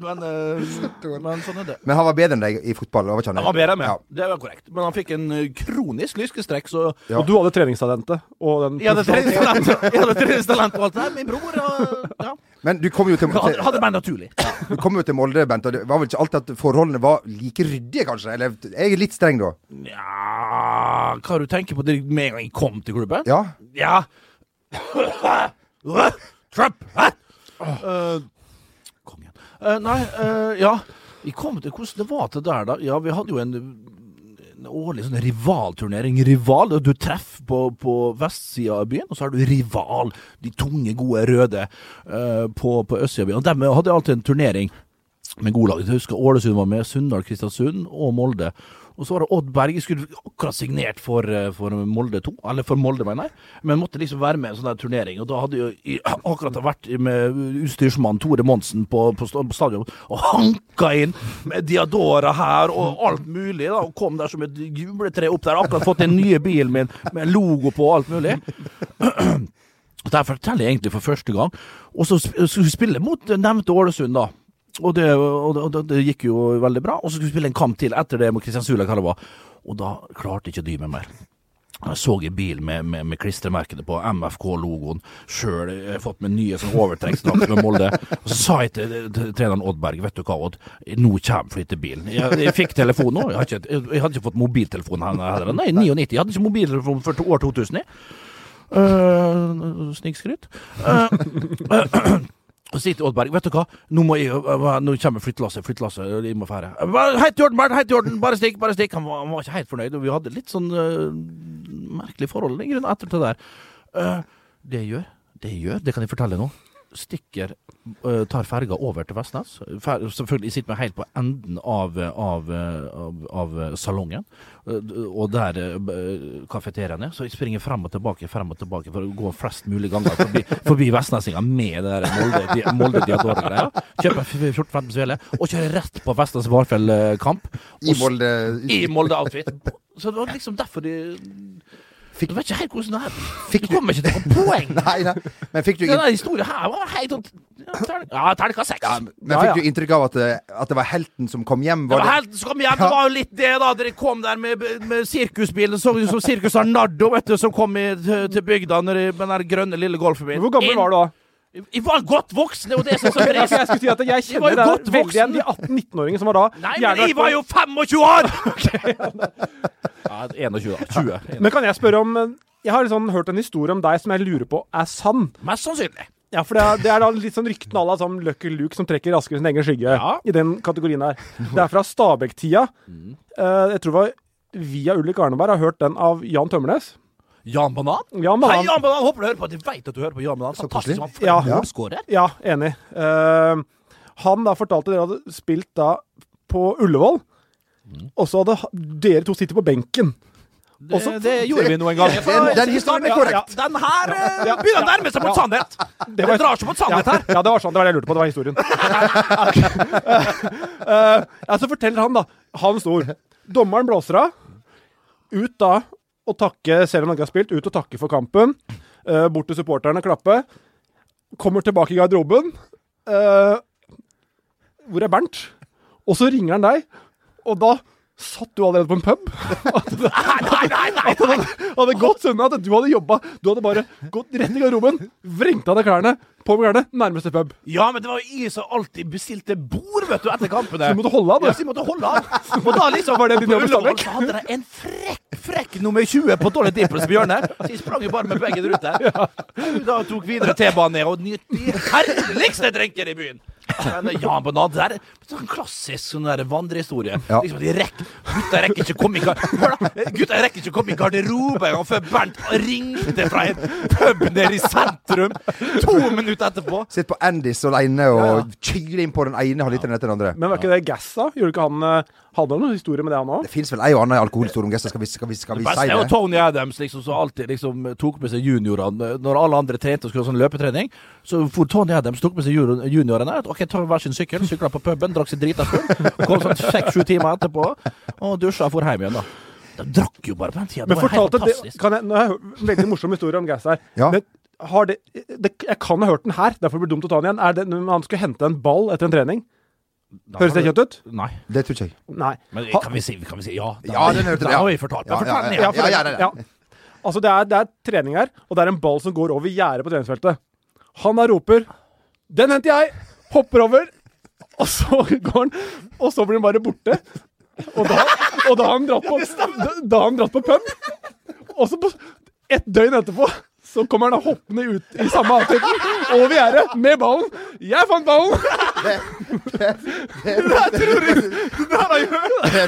[SPEAKER 1] men, eh, men sånn er det.
[SPEAKER 2] Men han var bedre enn deg i fotball. det var ikke
[SPEAKER 1] Han var bedre enn meg,
[SPEAKER 2] Ja.
[SPEAKER 1] det var korrekt. Men han fikk en eh, kronisk lyskestrekk, så
[SPEAKER 2] Ja.
[SPEAKER 3] Og du hadde treningstalentet. Og den
[SPEAKER 1] jeg hadde treningstalent jeg hadde treningstalent på alt. Nei, min bror og ja.
[SPEAKER 2] Men du kom jo til,
[SPEAKER 1] hadde,
[SPEAKER 2] til,
[SPEAKER 1] hadde meg naturlig.
[SPEAKER 2] du kom jo til Molde, Bent, og det var vel ikke alltid at forholdene var like ryddige, kanskje? Eller jeg er litt streng, da.
[SPEAKER 1] Nja Hva har du tenker på det med en gang jeg kom til klubben?
[SPEAKER 2] Ja.
[SPEAKER 1] Ja. Trump! Hæ? Eh, Kom igjen. Eh, nei, eh, ja. Vi kom til hvordan det var til der, da. Ja, vi hadde jo en, en årlig sånn rivalturnering. Rival. Du treffer på, på vestsida av byen, og så har du rival. De tunge, gode røde eh, på, på østsida av byen. Og dem hadde alltid en turnering med gode lag. Jeg husker Ålesund var med, Sunndal, Kristiansund og Molde. Og så var det Odd Berge, skulle akkurat signert for, eh, for Molde 2, eller for Molde, mener jeg, men måtte liksom være med i en sånn der turnering. Og da hadde jo i- akkurat vært med utstyrsmann Tore Monsen på, på sta- på stadion og hanka inn med Diadora her og alt mulig, da, og kom der som et juletre opp der. Akkurat fått den nye bilen min med logo på og alt mulig. Og Der forteller jeg egentlig for første gang. Og så sp- skulle vi spille mot nevnte Ålesund, da. Og det, og, det, og det, det gikk jo veldig bra. Og så skulle vi spille en kamp til etter det mot Kristiansund, eller hva det var. Og da klarte ikke å dy meg mer. Jeg så en bil med, med, med klistremerkene på MFK-logoen sjøl. Jeg har fått med nye sånn overtrekksdrakter med Molde. Og så sa jeg til, til treneren Odd Berg, vet du hva Odd, nå kommer flyttebilen. Jeg, jeg fikk telefon nå. Jeg, har ikke- jeg, jeg hadde ikke fått mobiltelefon her heller. Nei, 99. Jeg hadde ikke mobiltelefon før år 2000. jeg. Eh, Snikskryt. Eh, og sier til Oddberg Vet du hva, nå, må jeg, nå kommer eh, flyttelasset, flyttelasset, jeg må fære. Bare, Heit i orden, Bernt, heit i orden, bare stikk, bare stikk. Han var, han var ikke helt fornøyd, og vi hadde litt sånn eh, merkelig forhold i grunnen etter det der. Eh, det jeg gjør, det jeg gjør, det kan jeg fortelle nå. Stikker, eh, tar ferga over til Vestnes. Fer, selvfølgelig sitter vi helt på enden av, eh, av, eh, av, av eh, salongen, eh, og der eh, kafeteriaen er. Så jeg springer frem og tilbake, frem og tilbake, for å gå flest mulig ganger forbi, forbi Vestnesinga med det der Molde- Molde Diadora-greia. Kjøper 14-15 sveler, og kjører rett på Vestnes eh, Varfjell-kamp.
[SPEAKER 2] I Molde
[SPEAKER 1] I Molde-outfit. Så det var liksom derfor de Jeg vet ikke helt hvordan det er.
[SPEAKER 2] Fikk
[SPEAKER 1] Du kommer ikke til å få poeng.
[SPEAKER 2] Nei, nei. Men fikk du,
[SPEAKER 1] Den
[SPEAKER 2] inn-
[SPEAKER 1] der historien her var helt sånn Ja, terning- Ja, terningkast seks.
[SPEAKER 2] men
[SPEAKER 3] Ja, ja.
[SPEAKER 2] fikk du inntrykk av at det, at det var helten som kom hjem?
[SPEAKER 1] Det var
[SPEAKER 2] Var det,
[SPEAKER 1] helt, så kom hjem, det var jo litt det, da. Dere kom der med, med sirkusbilen. Så ut som Sirkus Arnardo, vet du, som kom i, til, til bygda når, i- med den der grønne lille golfen min.
[SPEAKER 3] Men Hvor gammel var du da?
[SPEAKER 1] Jeg, jeg var godt voksen, det er jo det som er så
[SPEAKER 3] Jeg,
[SPEAKER 1] trist.
[SPEAKER 3] jeg skulle si at jeg
[SPEAKER 1] var jo
[SPEAKER 3] kjenner det
[SPEAKER 1] godt
[SPEAKER 3] der veldig igjen.
[SPEAKER 1] voksen.
[SPEAKER 3] De 18-19-åringene som var da
[SPEAKER 1] Nei,
[SPEAKER 3] gjerne
[SPEAKER 1] men jeg
[SPEAKER 3] vært
[SPEAKER 1] var
[SPEAKER 3] på-
[SPEAKER 1] jo 25 år! ja, 21, da. 20.
[SPEAKER 3] Men kan jeg spørre om eh, Jeg har liksom hørt en historie om deg som jeg lurer på er sann.
[SPEAKER 1] Mest sannsynlig.
[SPEAKER 3] Ja, for det er, det er da litt sånn ryktene à la sånn Lucky Luke som trekker raskere sin egen skygge.
[SPEAKER 1] Ja.
[SPEAKER 3] I den kategorien her. Det er fra Stabæk-tida.
[SPEAKER 1] Mm.
[SPEAKER 3] Eh, jeg tror det var via Ulrik Arneberg har hørt den av Jan Tømmernes.
[SPEAKER 1] Jan Banan?
[SPEAKER 3] Jan
[SPEAKER 1] Hei,
[SPEAKER 3] Banan.
[SPEAKER 1] Jan Banan! Håper du hører på. at Jeg vet at du hører på Jan Banan.
[SPEAKER 2] koselig.
[SPEAKER 1] Fantastisk. Han
[SPEAKER 3] Ja.
[SPEAKER 1] ja. målskårer.
[SPEAKER 3] Ja, enig. Eh, han da fortalte dere hadde spilt da på Ullevål,
[SPEAKER 1] Mm.
[SPEAKER 3] og så hadde ha- dere to sittet på benken.
[SPEAKER 1] Det,
[SPEAKER 3] Også-
[SPEAKER 1] det gjorde vi nå en gang.
[SPEAKER 2] Den- den historien er korrekt.
[SPEAKER 1] Ja, den her eh, begynner å nærme seg mot sannhet. Det,
[SPEAKER 3] var-
[SPEAKER 1] drar seg mot
[SPEAKER 3] Ja,
[SPEAKER 1] sannhet her.
[SPEAKER 3] ja, det var sånn. Det var det jeg lurte på. Det var historien. Eh, ja, så forteller han, da. Han står. Dommeren blåser av. Ut da og takke, selv om han ikke har spilt, ut og takke for kampen. Eh, bort til supporterne, klappe. Kommer tilbake i garderoben. Eh, hvor er Bernt? Og så ringer han deg, og da satt du allerede på en pub.
[SPEAKER 1] Nei, nei, nei, nei,
[SPEAKER 3] Han hadde, han hadde gått unna at du hadde jobba. Du hadde bare gått rett i garderoben, vrengt av deg klærne, på med klærne, nærmeste pub.
[SPEAKER 1] Ja, men det var jo jeg som alltid bestilte bord, vet du, etter kampene.
[SPEAKER 3] Så du måtte holde av, du.
[SPEAKER 1] Ja, så jeg måtte holde av. Og da liksom
[SPEAKER 3] Var det din jobb i
[SPEAKER 1] Ullevål,
[SPEAKER 3] Stabæk?
[SPEAKER 1] så hadde de en frekk, frekk nummer 20 på Dolly Dimples på hjørnet. Så jeg sprang jo bare med begge ruter. Da tok videre T-banen ned og nyt de herligste drinker i byen. Men Jan Banan, det er sånn klassisk sånn der vandrehistorie.
[SPEAKER 2] Ja.
[SPEAKER 1] Liksom at de rekker, gutta rekker ikke å komme i gar- Hør da, gutta rekker ikke å komme i garderoben engang før Bernt ringte fra en pub nede i sentrum to minutter etterpå.
[SPEAKER 2] Sitt på Andis alene og kyler inn på den ene halvliteren etter den andre.
[SPEAKER 3] Men var ikke det Gassa? Gjorde ikke han eh, Hadde han noen historie med det, han òg?
[SPEAKER 2] Det fins vel ei og anna alkoholhistorie om gester, skal vi, skal vi, skal vi
[SPEAKER 1] Best
[SPEAKER 2] si
[SPEAKER 1] er jo
[SPEAKER 2] det?
[SPEAKER 1] Tony Adams, liksom, som alltid liksom, tok med seg juniorene. Når alle andre trente og skulle ha sånn løpetrening, så for Tony Adams tok med seg junior- juniorene. Ok, ta hver sin sykkel, sykla på puben, drakk seg drita full. Kom sånn seks-sju timer etterpå og dusja og for hjem igjen, da. De drakk jo bare på den tida. Det
[SPEAKER 3] Men
[SPEAKER 1] var helt
[SPEAKER 3] fortalte det,
[SPEAKER 1] fantastisk.
[SPEAKER 3] kan jeg, nå har jeg hørt en veldig morsom historie om Gass her.
[SPEAKER 2] Ja.
[SPEAKER 3] Men har det, det, jeg kan ha hørt den her, derfor blir det dumt å ta den igjen. Er det når han skulle hente en ball etter en trening? Høres det kjøtt ut?
[SPEAKER 1] Nei.
[SPEAKER 2] Det tror ikke jeg.
[SPEAKER 3] Nei.
[SPEAKER 1] Men
[SPEAKER 3] Ha-
[SPEAKER 1] kan vi si, kan vi si ja?
[SPEAKER 2] Ja, den hørte det,
[SPEAKER 1] Da
[SPEAKER 2] ja.
[SPEAKER 1] har vi fortalt meg.
[SPEAKER 2] Ja, ja,
[SPEAKER 1] Fortell den
[SPEAKER 2] ja,
[SPEAKER 1] igjen.
[SPEAKER 3] for det-
[SPEAKER 2] ja, ja, ja.
[SPEAKER 3] Altså, det er, det er trening her, og det er en ball som går over gjerdet på treningsfeltet. Han her roper 'Den henter jeg!' Hopper over, og så går han, og så blir han bare borte. Og da, og da har han dratt på da, da har han dratt på pub. Og så på et døgn etterpå så kommer han da hoppende ut i samme avtrekning over gjerdet med ballen. 'Jeg fant ballen!'
[SPEAKER 2] Ja, det stemmer.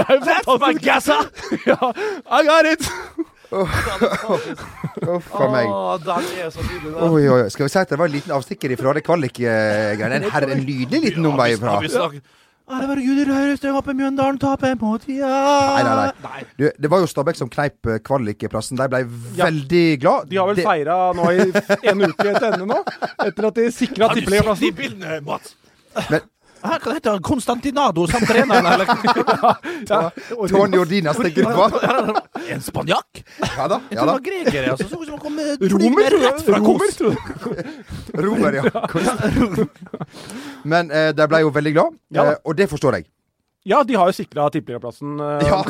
[SPEAKER 3] Det er jo fantastisk. Ja, I got it!
[SPEAKER 2] Uff a meg.
[SPEAKER 1] Å, den er så nydelig, den.
[SPEAKER 2] Oi, oi, oi. Skal vi si at det var en liten avstikker ifra det kvalik-greiene? En, herre- en nydelig liten omvei ifra.
[SPEAKER 1] Har vi snakket Herregud, det høres det oppe i Mjøndalen, taper mot
[SPEAKER 2] Nei, nei,
[SPEAKER 1] nei.
[SPEAKER 2] Du, det var jo Stabæk som kneip eh, kvalikplassen. De ble veldig glad.
[SPEAKER 3] De har vel
[SPEAKER 2] Det-
[SPEAKER 3] feira nå i en uke etter ende nå, etter at de sikra
[SPEAKER 1] Har du sett de
[SPEAKER 3] tippeligaplassen.
[SPEAKER 1] bildene, Mats?
[SPEAKER 2] Men-
[SPEAKER 1] Her, hva heter han? Konstantinado som trener, eller?
[SPEAKER 3] Ja,
[SPEAKER 2] Tony Ordinas tenker du på?
[SPEAKER 1] En spanjakk?
[SPEAKER 2] Ja da.
[SPEAKER 1] Jeg tror det
[SPEAKER 2] Ja da.
[SPEAKER 1] var grekere, altså. Så ut som han kom med
[SPEAKER 3] Romer,
[SPEAKER 1] flygende rett fra
[SPEAKER 3] Romer,
[SPEAKER 1] Kos.
[SPEAKER 3] tror du?
[SPEAKER 2] Romer, ja. Men eh, de ble jo veldig glad,
[SPEAKER 3] Ja da.
[SPEAKER 2] eh, og det forstår jeg.
[SPEAKER 3] Ja, de har jo sikra tippeligaplassen. eh,
[SPEAKER 2] Ja.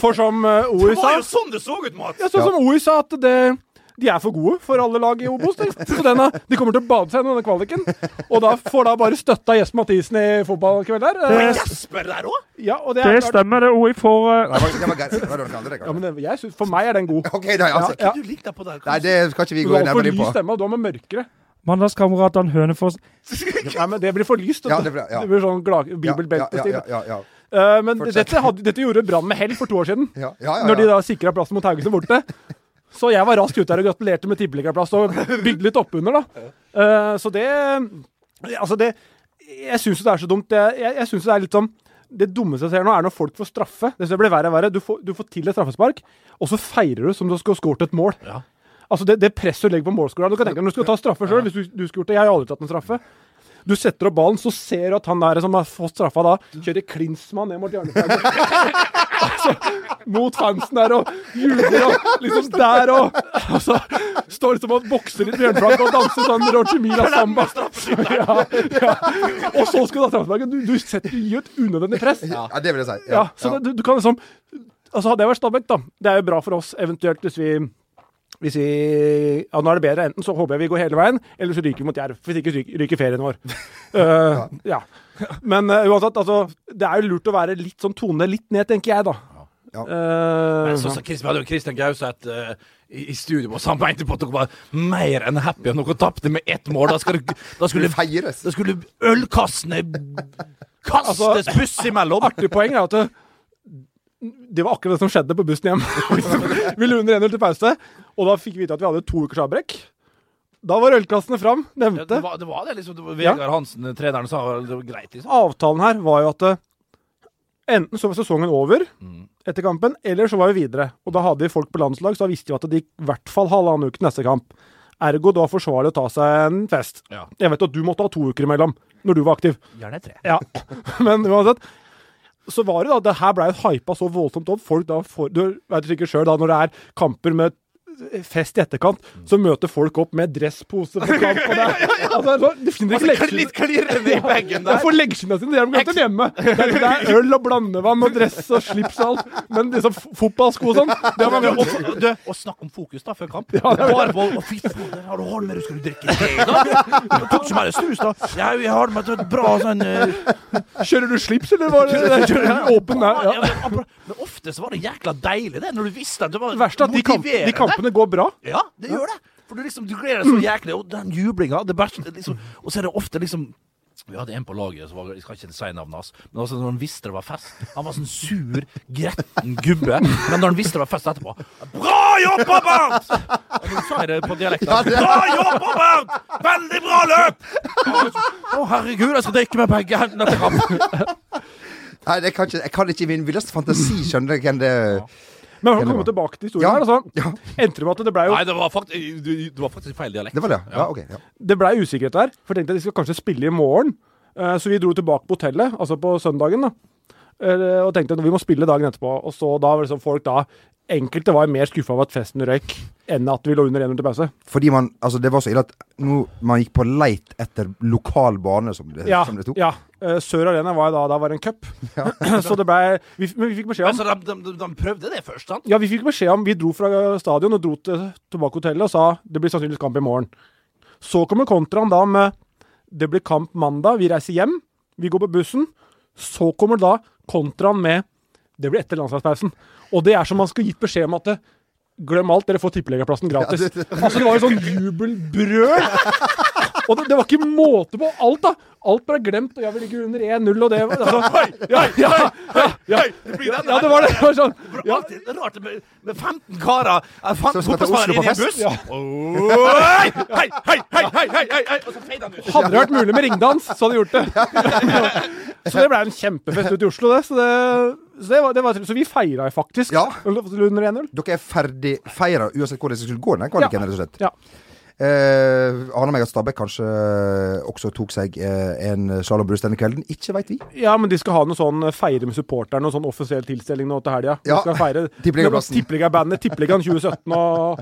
[SPEAKER 3] For som eh, OI
[SPEAKER 1] Det var
[SPEAKER 3] sa
[SPEAKER 1] jo sånn det så ut, Mats!
[SPEAKER 3] ja, Sånn som OI sa, at det, de er for gode for alle lag i Obos. de. Så denne, de kommer til å bade seg i denne kvaliken. Og da får da bare støtte av Jesper Mathisen i fotballkveld der.
[SPEAKER 1] Og
[SPEAKER 3] eh,
[SPEAKER 1] Jesper der òg!
[SPEAKER 3] Ja, og det er
[SPEAKER 4] Det
[SPEAKER 3] klart-
[SPEAKER 4] stemmer, det. OI får eh,
[SPEAKER 2] Nei, det var- det var greit. Det var noen andre,
[SPEAKER 3] Ja, men
[SPEAKER 2] kanskje.
[SPEAKER 3] det, jeg synes, For meg er den god.
[SPEAKER 2] OK, da. Altså.
[SPEAKER 3] Ja.
[SPEAKER 1] Du likte deg på der,
[SPEAKER 2] Nei, det skal ikke vi
[SPEAKER 3] Du
[SPEAKER 2] gå
[SPEAKER 3] har for
[SPEAKER 2] nærmere inn
[SPEAKER 3] lys
[SPEAKER 2] på.
[SPEAKER 3] stemme, og du har med mørkere.
[SPEAKER 4] mandagskameratene Hønefoss
[SPEAKER 3] Nei, men Det blir for lyst.
[SPEAKER 2] Ja,
[SPEAKER 3] vet du.
[SPEAKER 2] det blir- ja.
[SPEAKER 3] det blir sånn glad,
[SPEAKER 2] Ja, ja,
[SPEAKER 3] bibelbeltestil.
[SPEAKER 2] ja, ja, ja, ja.
[SPEAKER 3] Eh, men
[SPEAKER 2] Fortsett.
[SPEAKER 3] dette, hadde, dette gjorde Brann med hell for to år siden.
[SPEAKER 2] Ja, ja, ja,
[SPEAKER 3] Når de
[SPEAKER 2] ja.
[SPEAKER 3] da sikra plassen mot Haugesund borte. Så jeg var raskt ute der og gratulerte med tippeligaplass og bygde litt oppunder, da. Eh, så det Altså, det Jeg syns jo det er så dumt. Jeg, jeg, jeg synes jo det er litt sånn det dummeste jeg ser nå, er når folk får straffe. Det synes jeg blir verre og verre. Du får, du får til et straffespark, og så feirer du som om du skulle ha skåret et mål.
[SPEAKER 1] Ja.
[SPEAKER 3] Altså Det, det presset du legger på målskåreren Du kan tenke deg når du skal ta straffe sjøl. Hvis du, du skulle gjort det Jeg har jo aldri tatt en straffe. Du setter opp ballen, så ser du at han der som har fått straffa da, kjører klinsmann ned mot hjørneflagget. altså, mot fansen der og jubler og liksom der og altså, Står liksom og bokser litt med hjørneflagget og danser sånn Roger Mila samba. ja, ja. Og så skal du ha straffespark. Du, du setter du gir et unødvendig press. Ja,
[SPEAKER 2] ja, det vil jeg si.
[SPEAKER 3] så Det, du, du kan liksom Altså Hadde jeg vært Stabæk, da Det er jo bra for oss eventuelt hvis vi hvis vi, ja, nå er det bedre. Enten så håper jeg vi går hele veien, eller så ryker vi mot Jerv. Hvis ikke ryker, ryker ferien vår. Eh, ja. Men eh, uansett, altså Det er jo lurt å være litt sånn tone litt ned, tenker jeg, da.
[SPEAKER 2] Ja.
[SPEAKER 3] Eh,
[SPEAKER 1] Men så sa Chris, vi hadde jo Christian Gauseth eh, i, i studio, og han mente på at dere var mer enn happy om dere tapte med ett mål. Da, skal, dere- da, skulle,
[SPEAKER 2] Det feires.
[SPEAKER 1] da skulle ølkassene kastes buss imellom!
[SPEAKER 3] artig poeng er at det, det var akkurat det som skjedde på bussen hjem. vi lå under 1-0 til pause, og da fikk vi vite at vi hadde to ukers avbrekk. Da var ølklassene fram,
[SPEAKER 1] Ja, det,
[SPEAKER 3] nevnte.
[SPEAKER 1] var, det var det, liksom. Det var
[SPEAKER 3] Ja.
[SPEAKER 1] Vegard Hansen, treneren, sa det var greit, liksom.
[SPEAKER 3] Avtalen her var jo at eh, enten så var sesongen over
[SPEAKER 1] Mm.
[SPEAKER 3] etter kampen, eller så var vi videre. Og da hadde vi folk på landslag, så da visste vi at det gikk i hvert fall halvannen uke til neste kamp. Ergo da forsvarlig å ta seg en fest.
[SPEAKER 1] Ja.
[SPEAKER 3] Jeg vet at du måtte ha to uker imellom, når du var aktiv.
[SPEAKER 1] Gjerne tre.
[SPEAKER 3] Ja, men uansett. Så var det da, det her blei jo hypa så voldsomt opp. Folk da får, Du vet jo sikkert sjøl, da, når det er kamper med fest i etterkant,
[SPEAKER 1] Mm.
[SPEAKER 3] så møter folk opp med dresspose på kamp. Og det, er- altså, det- det finner ikke
[SPEAKER 1] Altså,
[SPEAKER 3] leggskinnet
[SPEAKER 1] litt klirrende i bagen der.
[SPEAKER 3] Jeg får leggskinna sine, det har de glemt hjemme. Det er, det er øl og blandevann og dress og slips og alt. Men liksom f- fotballsko og sånn, det har man
[SPEAKER 1] Og,
[SPEAKER 3] glemt.
[SPEAKER 1] og, du, og snakk om fokus, da, før kamp. Bare på å, Fy fader, har du Holmer, skal du drikke te i dag? Tok ikke mer snus, da. Ja, vi har med et bra sånn eh,
[SPEAKER 3] Kjører du slips, eller var det åpen der?
[SPEAKER 1] Ja,
[SPEAKER 3] Ja.
[SPEAKER 1] men- men, men ofte så var det jækla deilig, det, når du visste at det var
[SPEAKER 3] Det verste er at de, kamp, de
[SPEAKER 1] motiverende.
[SPEAKER 3] kampene går bra.
[SPEAKER 1] Ja, det gjør det. For du liksom, du gleder deg så jæklig, og den jublinga det verste, liksom, Og så er det ofte liksom vi hadde en på laget, så var, jeg skal ikke si navnet hans, men altså når han visste det var fest Han var sånn sur, gretten gubbe, men når han visste det var fest etterpå Bra jobba, Bernt! Ja, Nå sa jeg det på dialekten. Bra jobba, Bernt! Veldig bra løp! Å, herregud, jeg skal drikke med begge hendene etter kamp.
[SPEAKER 2] Nei, det kan ikke, jeg kan ikke i min villeste fantasi skjønne hvem det
[SPEAKER 3] Men for å komme tilbake til historien
[SPEAKER 2] Ja.
[SPEAKER 3] her, altså, endte det med at det blei jo
[SPEAKER 1] Nei, det var faktisk, du, du var faktisk feil dialekt.
[SPEAKER 2] Det var det, ja. ok. Ja.
[SPEAKER 3] det blei usikkerhet der, for jeg tenkte at de skal kanskje spille i morgen. Eh, Så vi dro tilbake på hotellet, altså på søndagen, da. eh, og tenkte at vi må spille dagen etterpå. Og så da var det sånn folk da Enkelte var mer skuffa over at festen røyk, enn at vi lå under 1-0 til pause.
[SPEAKER 2] Fordi man, altså det var så ille at nå, man gikk på leit etter lokal bane, som det,
[SPEAKER 3] Ja,
[SPEAKER 2] som det tok.
[SPEAKER 3] ja. Eh, Sør Arena var jo da, da var det en cup, så det blei vi, Men vi fikk beskjed om
[SPEAKER 1] Altså, de, de, de, de prøvde det først, sant?
[SPEAKER 3] Ja, vi fikk beskjed om Vi dro fra stadion og dro til Tobakk-hotellet og sa det blir sannsynligvis kamp i morgen. Så kommer kontraen da med det blir kamp mandag, vi reiser hjem, vi går på bussen. Så kommer da kontraen med det blir etter landslagspausen. Og det er som man skulle gitt beskjed om at det, glem alt, dere får tippelegerplassen gratis. Altså, det var jo sånn jubelbrøl. Og det, det var ikke måte på alt, da. Alt ble glemt, og jeg vil ligge under 1-0, og det var- altså, ja, ja, ja, ja,
[SPEAKER 1] Det blir den
[SPEAKER 3] ja, det var det. det var sånn,
[SPEAKER 1] For
[SPEAKER 3] ja,
[SPEAKER 1] alltid rart med, med 15 karer eh, 15
[SPEAKER 2] Som skal til
[SPEAKER 1] fotballspillere
[SPEAKER 2] Oslo på
[SPEAKER 1] inn i en
[SPEAKER 2] fest.
[SPEAKER 1] buss. Oi! Hei, hei, hei, hei, hei, hei, hei! Og så feider han ut.
[SPEAKER 3] Hadde det vært mulig med ringdans, så hadde jeg gjort det. Så det ble en kjempefest ute i Oslo, det. Så, det, så, det var, det var, så vi feira jo faktisk
[SPEAKER 2] Ja.
[SPEAKER 3] under 1-0.
[SPEAKER 2] Dere er ferdig feira uansett hvor det skulle gå den kvaliken,
[SPEAKER 3] Ja.
[SPEAKER 2] rett og slett.
[SPEAKER 3] Ja.
[SPEAKER 2] Eh, aner meg at Stabæk kanskje også tok seg eh, en slalåmbrus denne kvelden. Ikke veit vi.
[SPEAKER 3] ja, men de skal ha noe sånn feire med supporterne og sånn offisiell tilstelning nå til helga.
[SPEAKER 2] Ja. Tippeligaplassen.
[SPEAKER 3] Tippeligabandet, Tippeligaen 2017 og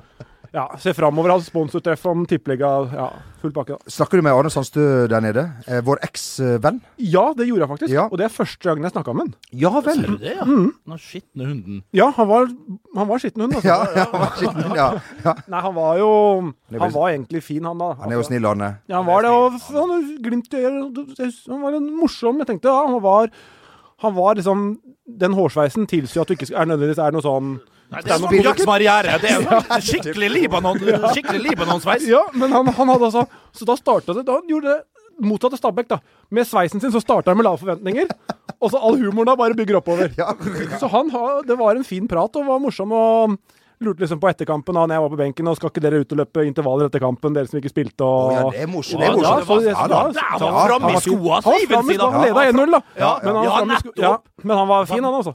[SPEAKER 3] ja, Se framover, ha sponsortreff om tippeliga. Ja, full pakke. da.
[SPEAKER 2] Snakker du med Arne Sandstø der nede? Eh, vår eksvenn?
[SPEAKER 3] Ja, det gjorde jeg faktisk.
[SPEAKER 2] Ja.
[SPEAKER 3] Og det er første gangen jeg snakka med han.
[SPEAKER 2] Ja vel.
[SPEAKER 1] Ser du det, ja?
[SPEAKER 3] Mm.
[SPEAKER 1] Den skitne hunden.
[SPEAKER 3] Ja, han var, han var skitten hund, altså.
[SPEAKER 2] Ja, ja, vær så snill, ja.
[SPEAKER 3] Nei, han var jo
[SPEAKER 2] er
[SPEAKER 3] Han
[SPEAKER 2] vel-
[SPEAKER 3] var egentlig fin, han da.
[SPEAKER 2] Han er jo snill, Arne.
[SPEAKER 3] Ja, han var det, og f- han hadde glimt i øyet. Han var en morsom. Jeg tenkte ja, han var han var liksom Den hårsveisen tilsier at du ikke sk- er nødvendigvis er noe sånn
[SPEAKER 1] Nei, det er noe jaktmarriere. Det er jo skikkelig Libanon Skikkelig Libanon-sveis.
[SPEAKER 3] Ja, men han, han hadde altså Så da starta det da Han gjorde det motsatt av Stabæk, da. Med sveisen sin så starta han med lave forventninger, og så all humoren da bare bygger oppover. Så han har Det var en fin prat og var morsom og lurte liksom på etterkampen da jeg var på benken, og skal ikke dere ut og løpe intervaller etter kampen, dere som ikke spilte og
[SPEAKER 2] Å, ja, det er morsomt.
[SPEAKER 1] Ja,
[SPEAKER 2] Det er
[SPEAKER 1] ja,
[SPEAKER 2] morsomt.
[SPEAKER 1] for-
[SPEAKER 2] Ja, da.
[SPEAKER 1] ja, han var framme i skoa,
[SPEAKER 3] Han var
[SPEAKER 1] Steven,
[SPEAKER 3] framme i
[SPEAKER 1] sier han.
[SPEAKER 3] skoa, han leda 1-0, da.
[SPEAKER 1] Ja,
[SPEAKER 3] men, han
[SPEAKER 1] ja,
[SPEAKER 3] var framme i sko-
[SPEAKER 1] nettopp.
[SPEAKER 3] ja, men han var fin, han, altså.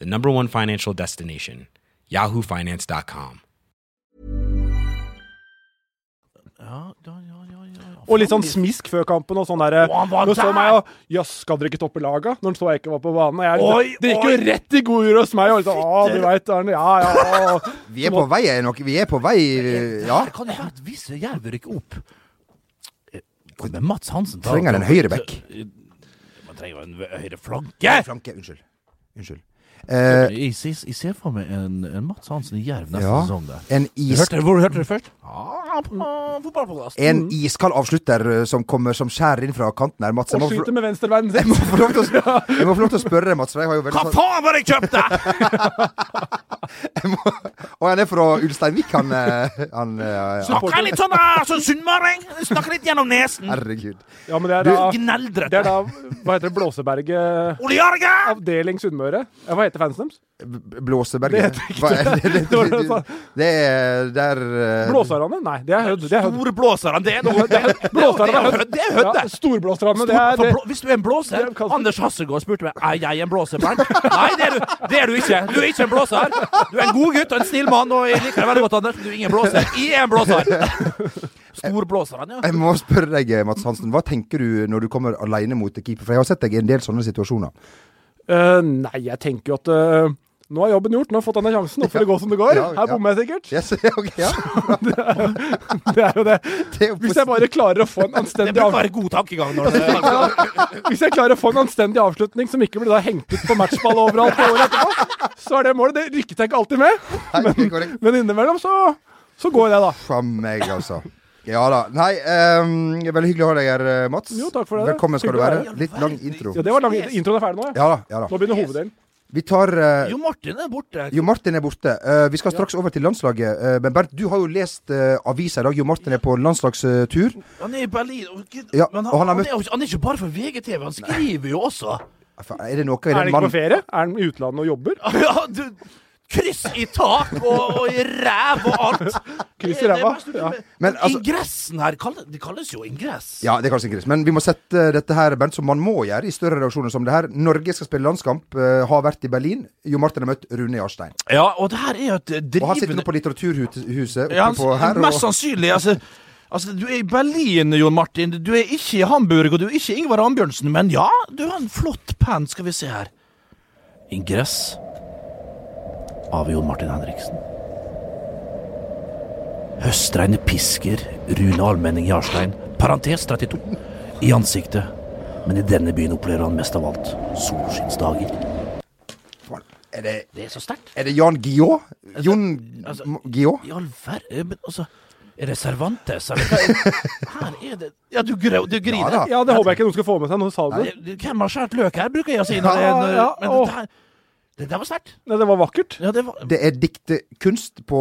[SPEAKER 5] the number one financial destination, yahoofinance.com.
[SPEAKER 3] Og litt sånn smisk før kampen og sånn derre
[SPEAKER 1] Å, han var
[SPEAKER 3] Nå så
[SPEAKER 1] der!
[SPEAKER 3] meg og Jøss, skal dere ikke toppe laga? Når han så jeg ikke var på banen. og Jeg,
[SPEAKER 1] Oi,
[SPEAKER 3] det gikk jo
[SPEAKER 1] oi!
[SPEAKER 3] rett i god jord hos meg. Og liksom, å, du veit, Arne. Ja, ja. og-
[SPEAKER 2] Vi er på vei, er nok. Vi er på vei, Eh, ja.
[SPEAKER 1] Her kan Eh, det være at hvis Jerv rykker opp Eh, Men Mats Hansen tar-
[SPEAKER 2] Trenger en høyreback. Eh.
[SPEAKER 1] Man trenger jo en høyre flanke!
[SPEAKER 2] Flanke, unnskyld. Unnskyld.
[SPEAKER 1] Jeg,
[SPEAKER 2] Eh,
[SPEAKER 1] jeg, jeg ser for meg en, en Mats Hansen i Jerv neste
[SPEAKER 2] ja.
[SPEAKER 1] sesong der.
[SPEAKER 2] En is...
[SPEAKER 1] Hørte, hvor hørte du det først? Ah, på fotballpodkast.
[SPEAKER 2] En iskald avslutter eh, som kommer som skjærer inn fra kanten her, Mats. Jeg
[SPEAKER 3] og
[SPEAKER 2] må få
[SPEAKER 3] skyter med venstrebeinen
[SPEAKER 2] jeg
[SPEAKER 3] sin.
[SPEAKER 2] sånn- må få lov til å, jeg må få lov til å spørre deg, Mats. For jeg har jo veldig
[SPEAKER 1] Hva
[SPEAKER 2] sånn-
[SPEAKER 1] faen var det jeg kjøpte?!
[SPEAKER 2] Og han er fra Ulsteinvik, han, eh, han eh,
[SPEAKER 1] Snakker litt sånn ah, sånn sunnmøring! Snakker litt gjennom nesen.
[SPEAKER 2] Herregud.
[SPEAKER 3] Ja, men det er
[SPEAKER 2] Du-
[SPEAKER 3] da, det
[SPEAKER 1] Gneldrete.
[SPEAKER 3] er da Hva heter det? Blåseberget
[SPEAKER 1] Ole Jørgen!
[SPEAKER 3] Avdeling Sunnmøre? Ja, hva heter fansen deres?
[SPEAKER 2] B- Blåseberget. Hva er Det det,
[SPEAKER 3] Det var det jeg sa.
[SPEAKER 2] det er der eh,
[SPEAKER 3] Blåserne? Nei, det er Hødd. Det er Hødd.
[SPEAKER 1] Storblåserne, det er noe. Det er
[SPEAKER 3] Blåserne er
[SPEAKER 1] Hødd,
[SPEAKER 3] Hødd.
[SPEAKER 1] det er Hødd,
[SPEAKER 3] Ja,
[SPEAKER 1] det.
[SPEAKER 3] Storblåserne, det er
[SPEAKER 1] For
[SPEAKER 3] det.
[SPEAKER 1] blå- Hvis du er en blåser
[SPEAKER 3] Det er kaldt.
[SPEAKER 1] Anders Hassegård spurte meg Er jeg en blåser, Bernt? Nei, det er, du, det er du ikke. Du er ikke en blåser. Du er en god gutt og en snill mann, og jeg liker deg veldig godt, Anders. men Du er ingen blåser. Jeg er en blåser. Storblåseren,
[SPEAKER 3] Eh,
[SPEAKER 1] ja.
[SPEAKER 2] Jeg må spørre deg, Mats Hansen. Hva tenker du når du kommer alene mot keeper? For jeg har sett deg i en del sånne situasjoner.
[SPEAKER 3] Eh, nei, jeg tenker jo at eh, nå er jobben gjort. Nå har jeg fått denne sjansen. Nå får det gå som det går.
[SPEAKER 2] Ja,
[SPEAKER 3] Her
[SPEAKER 2] ja.
[SPEAKER 3] bommer jeg sikkert.
[SPEAKER 2] Yes, ok, ja.
[SPEAKER 3] Det er jo det.
[SPEAKER 2] Det er jo
[SPEAKER 3] Hvis jeg bare klarer å få en
[SPEAKER 1] Det
[SPEAKER 3] anstendig
[SPEAKER 1] bør
[SPEAKER 3] avslutning
[SPEAKER 1] være god tankegang når det
[SPEAKER 3] Hvis jeg klarer å få en anstendig avslutning som ikke blir da hengt ut på matchball overalt på året etterpå, så er det målet. Det rykket jeg ikke alltid med,
[SPEAKER 2] Nei, det er korrekt.
[SPEAKER 3] men innimellom så, så går jeg, da.
[SPEAKER 2] Faen meg, altså. Ja da. Nei, ehm, det er veldig hyggelig å ha deg her, eh, Mats.
[SPEAKER 3] Jo, takk for det.
[SPEAKER 2] Velkommen skal du
[SPEAKER 3] Hyggelig å
[SPEAKER 2] være.
[SPEAKER 3] være
[SPEAKER 2] Litt lang intro.
[SPEAKER 3] Ja, Det var lang introen er ferdig nå, ja.
[SPEAKER 2] Ja da. ja da
[SPEAKER 3] Nå begynner hoveddelen.
[SPEAKER 2] Vi tar eh,
[SPEAKER 1] Jo Martin er borte.
[SPEAKER 2] Jo Martin er borte. Eh, vi skal straks over til landslaget. Eh, men Bernt, du har jo lest eh, avisa i dag. Jo Martin er på landslagstur.
[SPEAKER 1] Han er i Berlin. og gud,
[SPEAKER 2] Ja,
[SPEAKER 1] men han,
[SPEAKER 2] og han
[SPEAKER 1] han,
[SPEAKER 2] har
[SPEAKER 1] er jo, ikke- han er ikke bare for VGTV, han skriver jo også.
[SPEAKER 2] Fa- Er det noe i
[SPEAKER 3] Er han
[SPEAKER 2] den
[SPEAKER 3] ikke på
[SPEAKER 2] mannen
[SPEAKER 3] ferie? Er han i utlandet og jobber?
[SPEAKER 1] Ja, du, kryss i tak og, og i ræv og alt.
[SPEAKER 3] Kryss
[SPEAKER 1] Det- det
[SPEAKER 3] i
[SPEAKER 1] er
[SPEAKER 3] ræva,
[SPEAKER 1] mest
[SPEAKER 3] ja.
[SPEAKER 1] utrolig.
[SPEAKER 2] Men altså-
[SPEAKER 1] Ingressen her kalle- Det kalles jo ingress.
[SPEAKER 2] Ja, det er kanskje en krise. Men vi må sette eh, dette her, Bernt, som man må gjøre i større reaksjoner som det her. Norge skal spille landskamp. eh, har vært i Berlin. Jo Martin har møtt Rune Jarstein.
[SPEAKER 1] Ja, og det her er jo et eh, drivende
[SPEAKER 2] Og han sitter nå på Litteraturhuset oppe
[SPEAKER 1] Ja, han-
[SPEAKER 2] på her.
[SPEAKER 1] Mest
[SPEAKER 2] Og...
[SPEAKER 1] sannsynlig, altså Altså, Du er i Berlin, Jon Martin. Du er ikke i Hamburg, og du er ikke Ingvar Ambjørnsen. Men ja, du har en flott penn. Skal vi se her. Ingress av Jon Martin Henriksen. Høstregnet pisker Rune Almenning Jarstein, parentes 32, i ansiktet. Men i denne byen opplever han mest av alt solskinnsdager.
[SPEAKER 2] Er det,
[SPEAKER 1] Det er så sterkt.
[SPEAKER 2] er det Jan Guillaud? Jon
[SPEAKER 1] altså-
[SPEAKER 2] M- Guillaud?
[SPEAKER 1] I all verden Men altså Er det Cervantes? Eller hva er- Her er det Ja, du, grå, du griner.
[SPEAKER 2] Ja da.
[SPEAKER 3] Ja, det håper jeg ikke noen skal få med seg. Noen sa det.
[SPEAKER 1] Det- Hvem har skåret løk her, bruker jeg å si. Når det,
[SPEAKER 3] Ja,
[SPEAKER 1] når,
[SPEAKER 3] ja,
[SPEAKER 1] men
[SPEAKER 3] åh.
[SPEAKER 1] det, her, det der var sterkt.
[SPEAKER 3] Nei, det var vakkert.
[SPEAKER 1] Ja, det var,
[SPEAKER 2] Det er diktekunst på